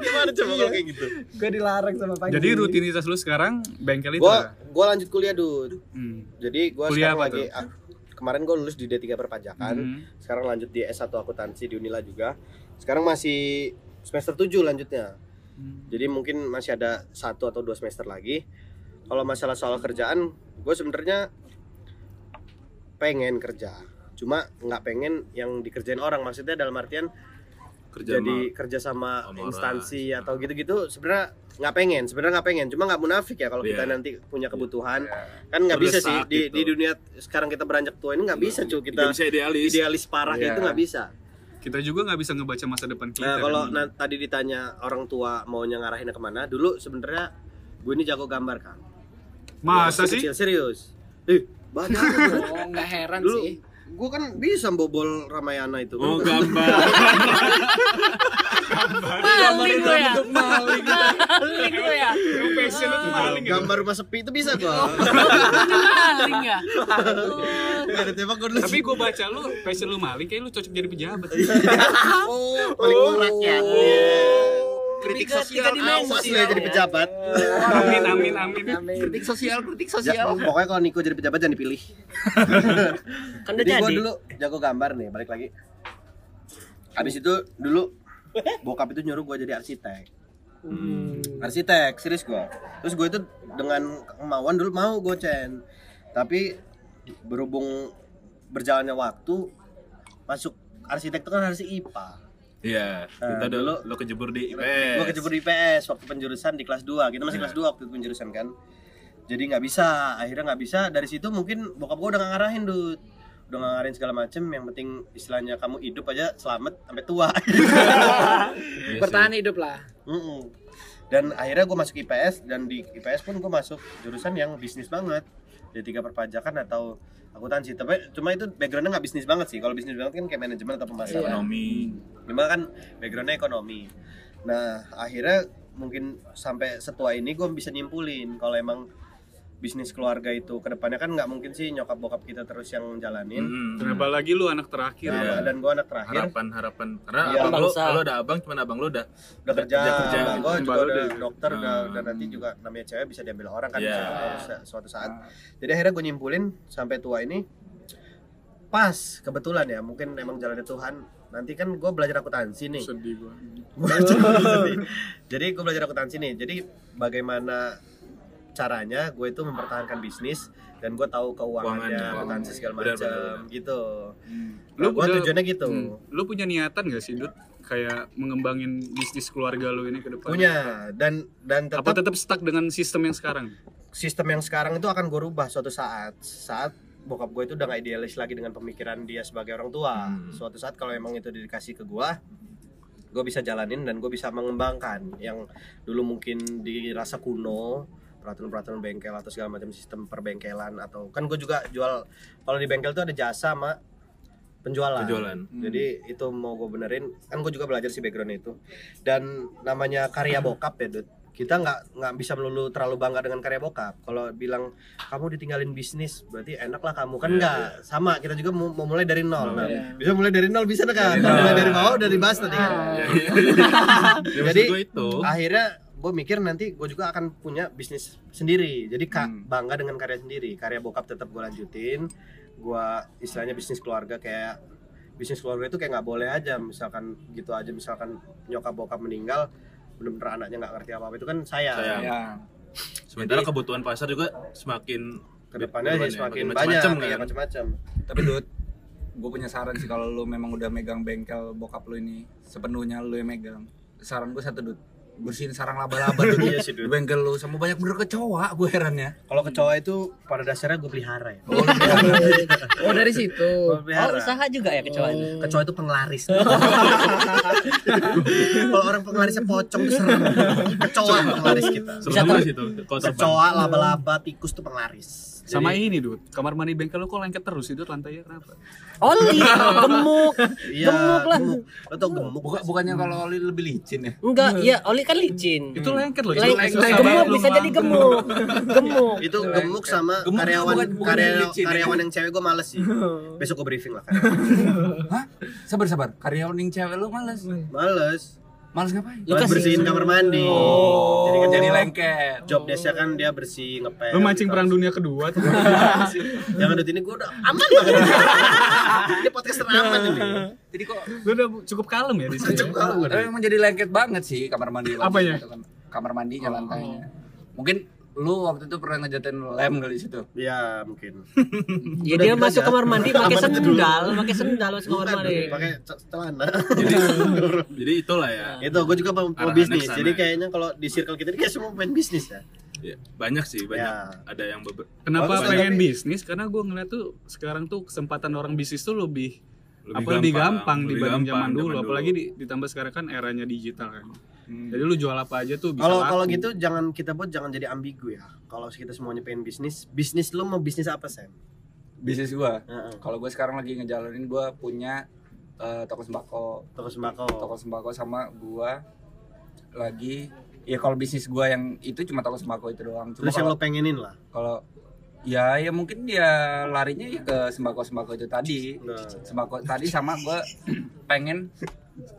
A: Gimana coba kalau kayak gitu?
D: Gua dilarang sama Panji.
B: Jadi rutinitas lu sekarang bengkel itu.
A: Gua
B: lah.
A: gua lanjut kuliah, Dud.
B: Hmm.
A: Jadi gua
B: Kuliah
A: sekarang
B: apa
A: lagi ah, kemarin gua lulus di D3 perpajakan.
B: Hmm.
A: sekarang lanjut di S1 akuntansi di Unila juga sekarang masih semester 7 lanjutnya
B: Hmm.
A: jadi mungkin masih ada satu atau dua semester lagi kalau masalah soal kerjaan gue sebenarnya pengen kerja cuma nggak pengen yang dikerjain orang maksudnya dalam artian
E: kerja
A: jadi
E: sama-
A: kerja sama
E: sama orang. Nah.
A: instansi atau gitu-gitu sebenarnya nggak pengen sebenarnya nggak pengen cuma nggak munafik ya kalau kita
E: Iya.
A: nanti punya kebutuhan kan nggak bisa
E: Terdesak
A: sih di,
E: gitu.
A: di dunia sekarang kita beranjak tua ini nggak bisa cuy kita
E: kita bisa idealis
A: idealis parah kayak
C: Iya.
A: itu nggak bisa
B: Kita juga nggak bisa ngebaca masa depan kita.
A: Nah, kalau
B: kan.
A: na- tadi ditanya orang tua maunya ngarahin kemana, dulu sebenarnya gue ini jago gambar kan. Waktu
B: masa sih?
A: Kecil serius. Ih, banyak. gua.
D: Oh, enggak heran
A: dulu
D: sih.
A: gue kan bisa bobol Ramayana itu.
E: Oh gambar
D: Maling gua ya. Maling gua ya. Oh,
B: Passion lu tuh maling ya.
A: gambar rumah sepi itu bisa gue.
D: Maling ya.
A: Gak ada tembak gue dulu.
B: Tapi gua baca lu passion lu maling kayak lu cocok jadi pejabat.
A: Oh, paling murah ya.
C: Kritik
F: Tiga-
C: sosial,
F: tiga dimensi.
C: awas
A: Masih lah
D: ya.
A: jadi pejabat.
B: amin amin amin.
C: kritik sosial, kritik
A: Ja-
C: sosial.
A: pokoknya kalau Niko jadi pejabat jangan dipilih.
F: Kan udah
A: Jadi gue
F: jadi.
A: dulu jago gambar nih, balik lagi. Habis itu dulu bokap itu nyuruh gue jadi arsitek.
F: Hmm.
A: arsitek serius gue terus gue itu dengan kemauan dulu mau gue Chen tapi berhubung berjalannya waktu masuk arsitek itu kan harus IPA
E: Iya,
A: Eh,
E: kita dulu
A: dulu-
E: lo kejebur di IPS.
A: gue kejebur di IPS waktu penjurusan di kelas 2 kita masih kelas 2 waktu itu penjurusan kan jadi nggak bisa akhirnya nggak bisa dari situ mungkin bokap gue udah nggak ngarahin dud udah nggak ngarahin segala macem yang penting istilahnya kamu hidup aja selamat sampai tua
D: bertahan hidup lah
A: Mm-mm. dan akhirnya gue masuk IPS dan di IPS pun gue masuk jurusan yang bisnis banget jadi tiga perpajakan atau akuntansi tapi cuma itu backgroundnya nggak bisnis banget sih kalau bisnis banget kan kayak manajemen atau pemasaran
D: Iya.
E: ekonomi
A: Cuma kan backgroundnya ekonomi. Nah akhirnya mungkin sampai setua ini gue bisa nyimpulin kalau emang bisnis keluarga itu kedepannya kan nggak mungkin sih nyokap bokap kita terus yang jalanin.
E: Mm-mm.
B: Kenapa lagi lu anak terakhir?
A: Nah,
E: Hmm. Iya.
A: Dan gue anak terakhir
E: harapan harapan karena
A: Iya. Ah.
E: abang lo
F: Bangsa.
E: kalau ada abang cuman abang lo udah
A: udah kerja,
E: Udah kerja.
A: gue juga
B: Baru
A: udah
B: deh.
A: dokter udah,
E: Hmm.
A: dan nanti juga namanya cewek bisa diambil orang kan
E: Iya. Hmm.
A: bisa- suatu saat. Jadi akhirnya gue nyimpulin sampai tua ini pas kebetulan ya mungkin emang jalannya Tuhan. Nanti kan gue belajar akuntansi nih.
B: Sedih gua.
A: jadi gue belajar akuntansi nih jadi bagaimana caranya gue itu mempertahankan bisnis dan gue tahu keuangannya
E: Keuangannya.
A: akuntansi segala
E: Benar, benar,
A: macam gitu
B: Lu
A: Nah, gue
B: udah-
A: tujuannya gitu
B: Hmm. Lu punya niatan gak sih, Dut? Kayak mengembangin bisnis keluarga lu ini ke depan?
A: punya dan dan
B: Apa
A: tetap
B: tetap stuck dengan sistem yang sekarang?
A: sistem yang sekarang itu akan gue rubah suatu saat saat bokap gue itu udah gak idealis lagi dengan pemikiran dia sebagai orang tua
E: Hmm.
A: suatu saat kalau emang itu dikasih ke gue gue bisa jalanin dan gue bisa mengembangkan yang dulu mungkin dirasa kuno peraturan-peraturan bengkel atau segala macam sistem perbengkelan atau kan gue juga jual kalau di bengkel tuh ada jasa sama penjualan,
E: penjualan
A: jadi itu mau gue benerin kan gue juga belajar sih background itu dan namanya karya bokap ya Dut kita nggak nggak bisa melulu terlalu bangga dengan karya bokap kalau bilang kamu ditinggalin bisnis berarti enak lah kamu kan
E: Iya,
A: nggak sama kita juga mau, mau mulai dari nol nah,
D: Iya.
A: bisa mulai dari nol bisa kan
E: Dari
A: Kalau
E: nol.
A: mulai dari bawah udah dibahas tadi kan
D: Ah.
E: Ya,
A: Jadi, Ah.
E: maksud gua itu
A: akhirnya gue mikir nanti gue juga akan punya bisnis sendiri jadi kak
B: Hmm.
A: bangga dengan karya sendiri karya bokap tetap gue lanjutin gue istilahnya bisnis keluarga kayak bisnis keluarga itu kayak nggak boleh aja misalkan gitu aja misalkan nyokap bokap meninggal bener-bener anaknya nggak ngerti apa apa itu kan saya
E: Sayang.
C: Ya,
E: sementara kebutuhan pasar juga semakin
A: kedepannya
E: Kedepannya
A: ya semakin
E: makin
A: banyak
E: macem-macem
A: kayak
E: kan?
A: macam-macam
C: Tapi Dut, gue punya saran sih kalau lu memang udah megang bengkel bokap lu ini sepenuhnya lu yang megang. Saran gue satu Dut, bersihin sarang laba-laba Dut.
A: Iya sih, Dut.
C: Di bengkel lu sama banyak bener kecoa, gue herannya.
A: kalau kecoa itu pada dasarnya gue pelihara
C: Oh,
A: ya
D: oh dari situ
A: Gua
F: Oh,
A: pelihara.
F: usaha juga ya kecoa ini.
A: kecoa itu penglaris kalau orang penglarisnya pocong itu serem kecoa penglaris kita
E: bisa
F: ter-
E: sih itu kota
A: kecoa laba-laba tikus tuh penglaris
B: Sama ini, Dut. Kamar mandi bengkel lu kok lengket terus, itu lantainya kenapa?
F: Oli, gemuk.
A: iya
F: Gemuk lah.
A: gemuk lo tau gemuk
C: Buka, bukannya kalau oli lebih licin ya?
F: Enggak, ya Oli kan licin.
B: Itu lengket loh.
F: Lain-
B: itu susah
F: gemuk
B: banget Iya, lu
F: bisa jadi
B: makan.
F: gemuk. Gemuk.
A: itu gemuk sama
C: Gemuk
A: karyawan
C: bukan- bukan
A: karya-
C: yang licin.
A: karyawan yang cewek gue males sih
F: Oh.
A: besok gue briefing lah karyawan
C: Hah? Sabar-sabar, karyawan yang cewek lu males.
A: males
C: Males ngapain?
F: Lu
A: Males
F: kasih-
A: bersihin kamar mandi
C: Jadi
A: jadi
C: kan
A: kan
C: jadi
A: jadi lengket
C: lengket.
A: job desknya kan dia bersih ngepel
B: Lu mancing
A: gitu.
B: perang dunia kedua tuh.
A: jangan dut ini gue udah aman banget ini podcast aman ini
C: Jadi kok
B: Lu udah cukup kalem ya di sini.
A: Cukup kalem.
C: Tapi emang jadi lengket banget sih kamar mandi lantai
A: ya?
B: Apanya?
C: itu kan. Kamar mandinya
A: Oh.
C: lantainya. Mungkin lu waktu itu pernah ngejatin lem kali di situ.
A: ya mungkin
F: Ya dia
A: Udah
F: masuk
A: gitu
F: kamar
A: aja.
F: mandi pakai
A: Aman itu dulu.
F: sendal, pakai sendal masuk kamar
A: Bukan,
F: mandi.
A: pakai ce- celana
E: jadi itulah ya
A: itu gue juga mau mau
E: Arahnya
A: bisnis
E: kesana.
A: jadi kayaknya kalau di circle kita ini kayak semua main bisnis ya
E: Ya, banyak sih banyak
A: Ya.
E: ada yang beber
B: Kenapa
A: Bagus,
B: pengen
A: tapi-
B: bisnis? Karena gue ngeliat tuh sekarang tuh kesempatan orang bisnis tuh lebih
E: Lebih
B: apa lebih
E: gampang,
B: gampang
E: lebih
B: dibanding
E: gampang
B: zaman dulu.
E: zaman dulu. Hmm.
B: Apalagi di- ditambah sekarang kan eranya digital kan. Jadi lu jual apa aja tuh bisa
A: kalau
B: laku.
A: kalau gitu jangan kita buat jangan jadi ambigu ya kalau kita semuanya pengen bisnis bisnis lo mau bisnis apa Sam
C: Bisnis gua.
A: Heeh.
C: Kalau gua sekarang lagi ngejalanin gua punya eh, toko sembako.
A: toko sembako
C: Toko sembako sama gua lagi ya kalau bisnis gua yang itu cuma toko sembako itu doang. Cuma
A: terus yang
C: kalau
A: lo pengenin lah
C: kalau ya ya mungkin dia larinya ya ke sembako sembako itu tadi
A: Nah.
C: sembako tadi sama gue pengen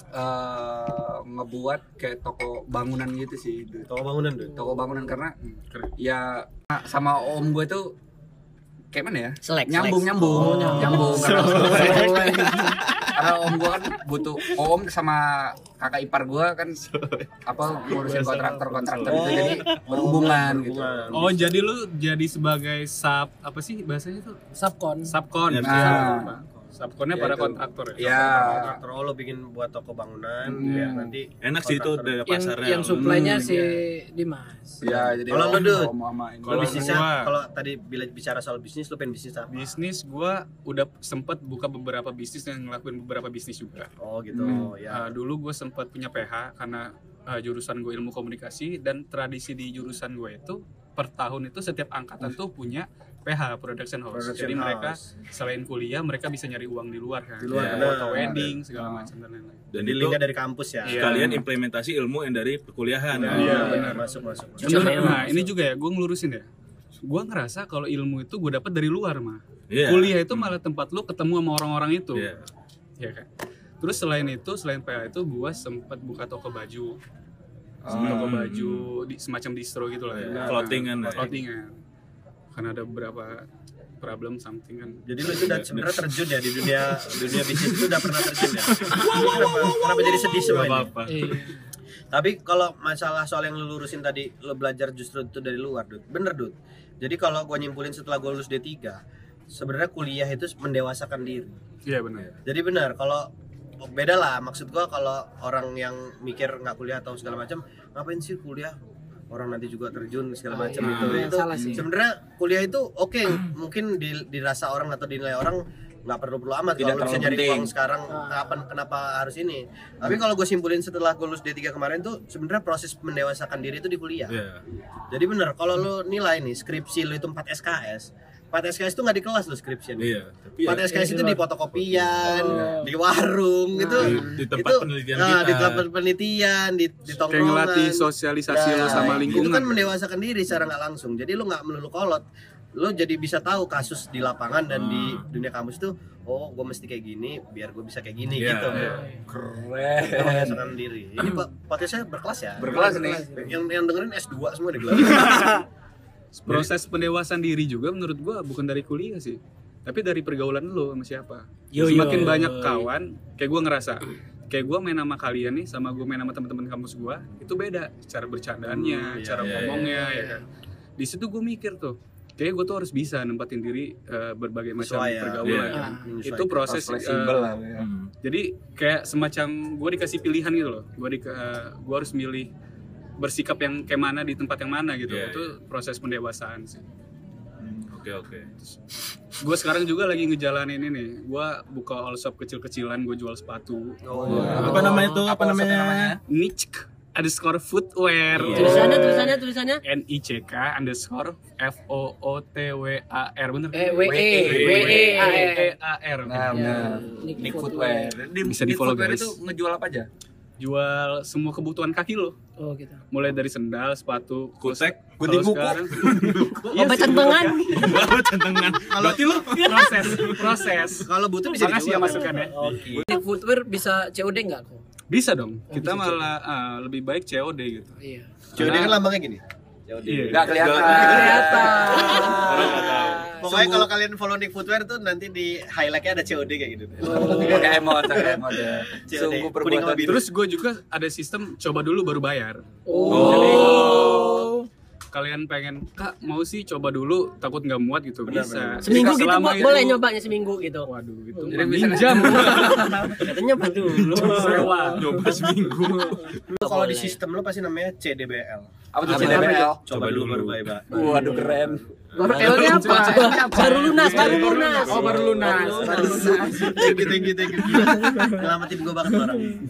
C: eh, ngebuat kayak toko bangunan gitu sih Dut.
A: toko bangunan tuh
C: toko bangunan karena
B: Keren.
C: ya sama om gue tuh kayak mana ya
F: Selek,
C: nyambung
F: selek.
C: nyambung
A: Oh,
C: nyambung,
A: nyambung.
C: Karena, kan
A: Selek.
C: karena om gue kan butuh om sama kakak ipar gue kan apa ngurusin kontraktor kontraktor itu
A: Oh.
C: jadi berhubungan gitu
A: Berhubungan.
B: Oh jadi lu jadi sebagai sub apa sih bahasanya tuh
D: subkon
B: subkon.
E: Ya,
C: Nah.
B: Subkon. subkonnya
C: Ya,
B: para
C: itu.
B: kontraktor ya.
C: Ya.
A: kontraktor oh, lo bikin buat toko bangunan
B: Hmm.
A: biar nanti
E: enak sih itu
A: kontraktor-
E: dari
D: yang
E: pasarnya
D: yang supply-nya
B: Hmm,
D: si
B: iya.
D: Dimas.
C: Ya, jadi
A: Kalau lu, Dut?
E: Kalau
A: Lo bisnisnya
E: gua-
A: kalau tadi bila bicara soal bisnis lo pengen bisnis apa
B: bisnis gua udah sempet buka beberapa bisnis dan ngelakuin beberapa bisnis juga.
A: oh gitu
C: Hmm.
A: ya
B: Eh, dulu gue sempat punya PH karena eh, jurusan gue ilmu komunikasi dan tradisi di jurusan gue itu per tahun itu setiap angkatan tuh punya PH production house.
A: Hmm. Production
B: Jadi mereka
A: house.
B: selain kuliah mereka bisa nyari uang di luar kan.
A: Di luar,
B: Ya,
A: benar.
B: foto wedding segala macam dan lain-lain.
E: dan
A: Jadi
E: itu
A: linknya dari kampus ya
B: Iya.
E: sekalian implementasi ilmu yang dari perkuliahan ya.
A: Nah,
B: Iya,
A: iya,
B: benar.
A: masuk masuk masuk.
B: Bener,
F: memang.
B: nah, ini juga ya gue ngelurusin ya. Gue ngerasa kalau ilmu itu gue dapat dari luar mah.
E: Iya.
B: Kuliah itu malah tempat lu ketemu sama orang-orang itu.
E: Iya.
B: Ya kan? Terus selain itu, selain PH itu gue sempat buka toko baju. toko
E: Hmm.
B: baju di, semacam distro gitu lah.
E: Iya, clothingan lah ya.
B: Clothingan. Karena ada beberapa problem something kan.
A: Jadi lu itu
E: Iya,
A: udah sebenarnya terjun ya di dunia dunia bisnis itu udah pernah terjun ya. kenapa, kenapa jadi sedih semua
E: Gak
A: ini?
E: apa-apa
D: Iya.
A: Tapi kalau masalah soal yang lu lurusin tadi, lu belajar justru itu dari luar, Dut. Bener, Dut. Jadi kalau gua nyimpulin setelah gua lulus D3, sebenarnya kuliah itu mendewasakan diri.
B: Iya benar.
A: Jadi benar, kalau beda lah maksud gua kalau orang yang mikir nggak kuliah atau segala macam, ngapain sih kuliah? Orang nanti juga terjun segala macam
D: iya,
A: itu.
D: iya,
A: itu
D: salah sih.
A: sebenarnya kuliah itu oke, mungkin di- dirasa orang atau dinilai orang nggak perlu perlu amat
C: Tidak
A: kalau lu bisa
C: terlalu
A: nyari
C: penting.
A: uang sekarang
D: Ah.
A: kapan kenapa harus ini. Tapi kalau gue simpulin setelah gue lulus D3 kemarin tuh sebenarnya proses mendewasakan diri itu di kuliah.
E: Iya.
A: Jadi benar kalau lu nilai nih skripsi lu itu 4 SKS. 4 SKS itu nggak di kelas lu skripsi.
E: Iya, tapi ya,
A: Empat SKS itu di fotokopian,
D: Oh.
A: di warung gitu.
E: Di- di tempat penelitian
A: nah,
E: kita.
A: di tempat penelitian, di, di
B: Kayak
A: tongkrongan.
B: ngelatih sosialisasi
A: Nah,
B: lo sama lingkungan.
A: Itu kan mendewasakan diri secara nggak langsung. Jadi lu nggak melulu kolot. Lu jadi bisa tahu kasus di lapangan dan di dunia kampus tuh, oh gue mesti kayak gini biar gue bisa kayak gini
E: Iya,
A: gitu.
E: iya.
A: Itu
C: Keren.
A: Mendewasakan diri. Ini pak podcastnya berkelas ya.
C: Berkelas nih.
A: Yang yang dengerin S2 semua di kelas.
B: Proses pendewasaan diri juga menurut gua bukan dari kuliah sih. Tapi dari pergaulan lo sama siapa.
F: Yo, yo.
B: Semakin banyak kawan, kayak gua ngerasa kayak gua main sama kalian nih sama gua main sama teman-teman kampus gua itu beda cara
A: iya,
B: bercandaannya, cara
E: iya, iya,
B: ngomongnya ya kan. Di situ gua mikir tuh, kayak gua tuh harus bisa nempatin diri eh, berbagai macam
A: Sesuai ya.
B: pergaulan
E: Iya.
B: ya kan.
A: Menyesuaikan.
B: Itu proses
C: Harus
B: eh,
C: fleksibel lah. ya.
E: Hmm.
B: jadi kayak semacam gue dikasih pilihan gitu loh. Gue di gue harus milih bersikap yang kayak mana di tempat yang mana gitu.
E: Iya,
B: itu proses pendewasaan sih.
E: Oke, oke.
B: Gue sekarang juga lagi ngejalanin ini. Gue buka all shop kecil-kecilan. Gue jual sepatu.
E: Apa namanya itu? Apa namanya?
B: Nick underscore footwear.
E: Iya.
F: Tulisannya tulisannya tulisannya
B: N I C K underscore F O O T W A R bener.
D: Eh, WE,
C: WE.
D: WE, A,
B: E
D: E.
B: A R.
C: Nah, benar. Nick Footwear. Di-
B: Bisa
C: Nick
B: di-follow,
C: Footwear
B: guys.
C: itu ngejual apa aja?
B: Jual semua kebutuhan kaki lo.
D: Oh gitu.
B: Mulai dari sendal, sepatu,
E: Kutek,
B: Kalau
C: Gunting kuku.
B: sekarang- Iya
F: obat
B: sih,
F: tantangan.
E: bawa centengan. Berarti lu
B: proses proses
A: Kalau butuh bisa
B: Makasih
A: dijual.
B: ya
A: Oh.
B: masukannya.
A: Oke.
D: Nick Footwear bisa COD nggak kok?
B: bisa dong
D: Oh,
B: kita
D: bisa
B: malah ah, lebih baik COD gitu
D: Iya.
A: Jadi kan lambangnya gini.
B: iya
C: Enggak kelihatan.
E: Nggak
D: Kelihatan.
A: Pokoknya kalau kalian follow Nick Footwear tuh nanti di highlightnya ada COD kayak gitu.
C: Kayak emot, kayak emot ya.
A: Cewek,
C: Sungguh
A: kuning sama
C: perbuatan
A: biru.
B: terus gue juga ada sistem coba dulu baru bayar
D: Oh.
B: kalian pengen kak mau sih coba dulu takut nggak muat gitu
A: Benar,
B: bisa
A: benar.
F: Seminggu
B: Bisa
F: gitu
B: selama
F: Bo-
B: itu-
F: boleh nyobanya seminggu gitu.
B: waduh itu
C: Jadi
B: Jadi
C: bisa-
B: minjam
F: Katanya nyoba dulu.
B: sewa
E: coba seminggu.
A: Lu kalau di sistem lu pasti namanya CDBL.
C: Apa tuh
F: Apa
C: CDBL?
A: Coba, dulu baru bye bye.
C: Waduh keren.
D: Baru LD apa?
F: Baru lunas, baru lunas.
D: Oh, baru lunas. Baru lunas.
A: Thank you, thank you, thank you. Nyelamatin gua banget orang.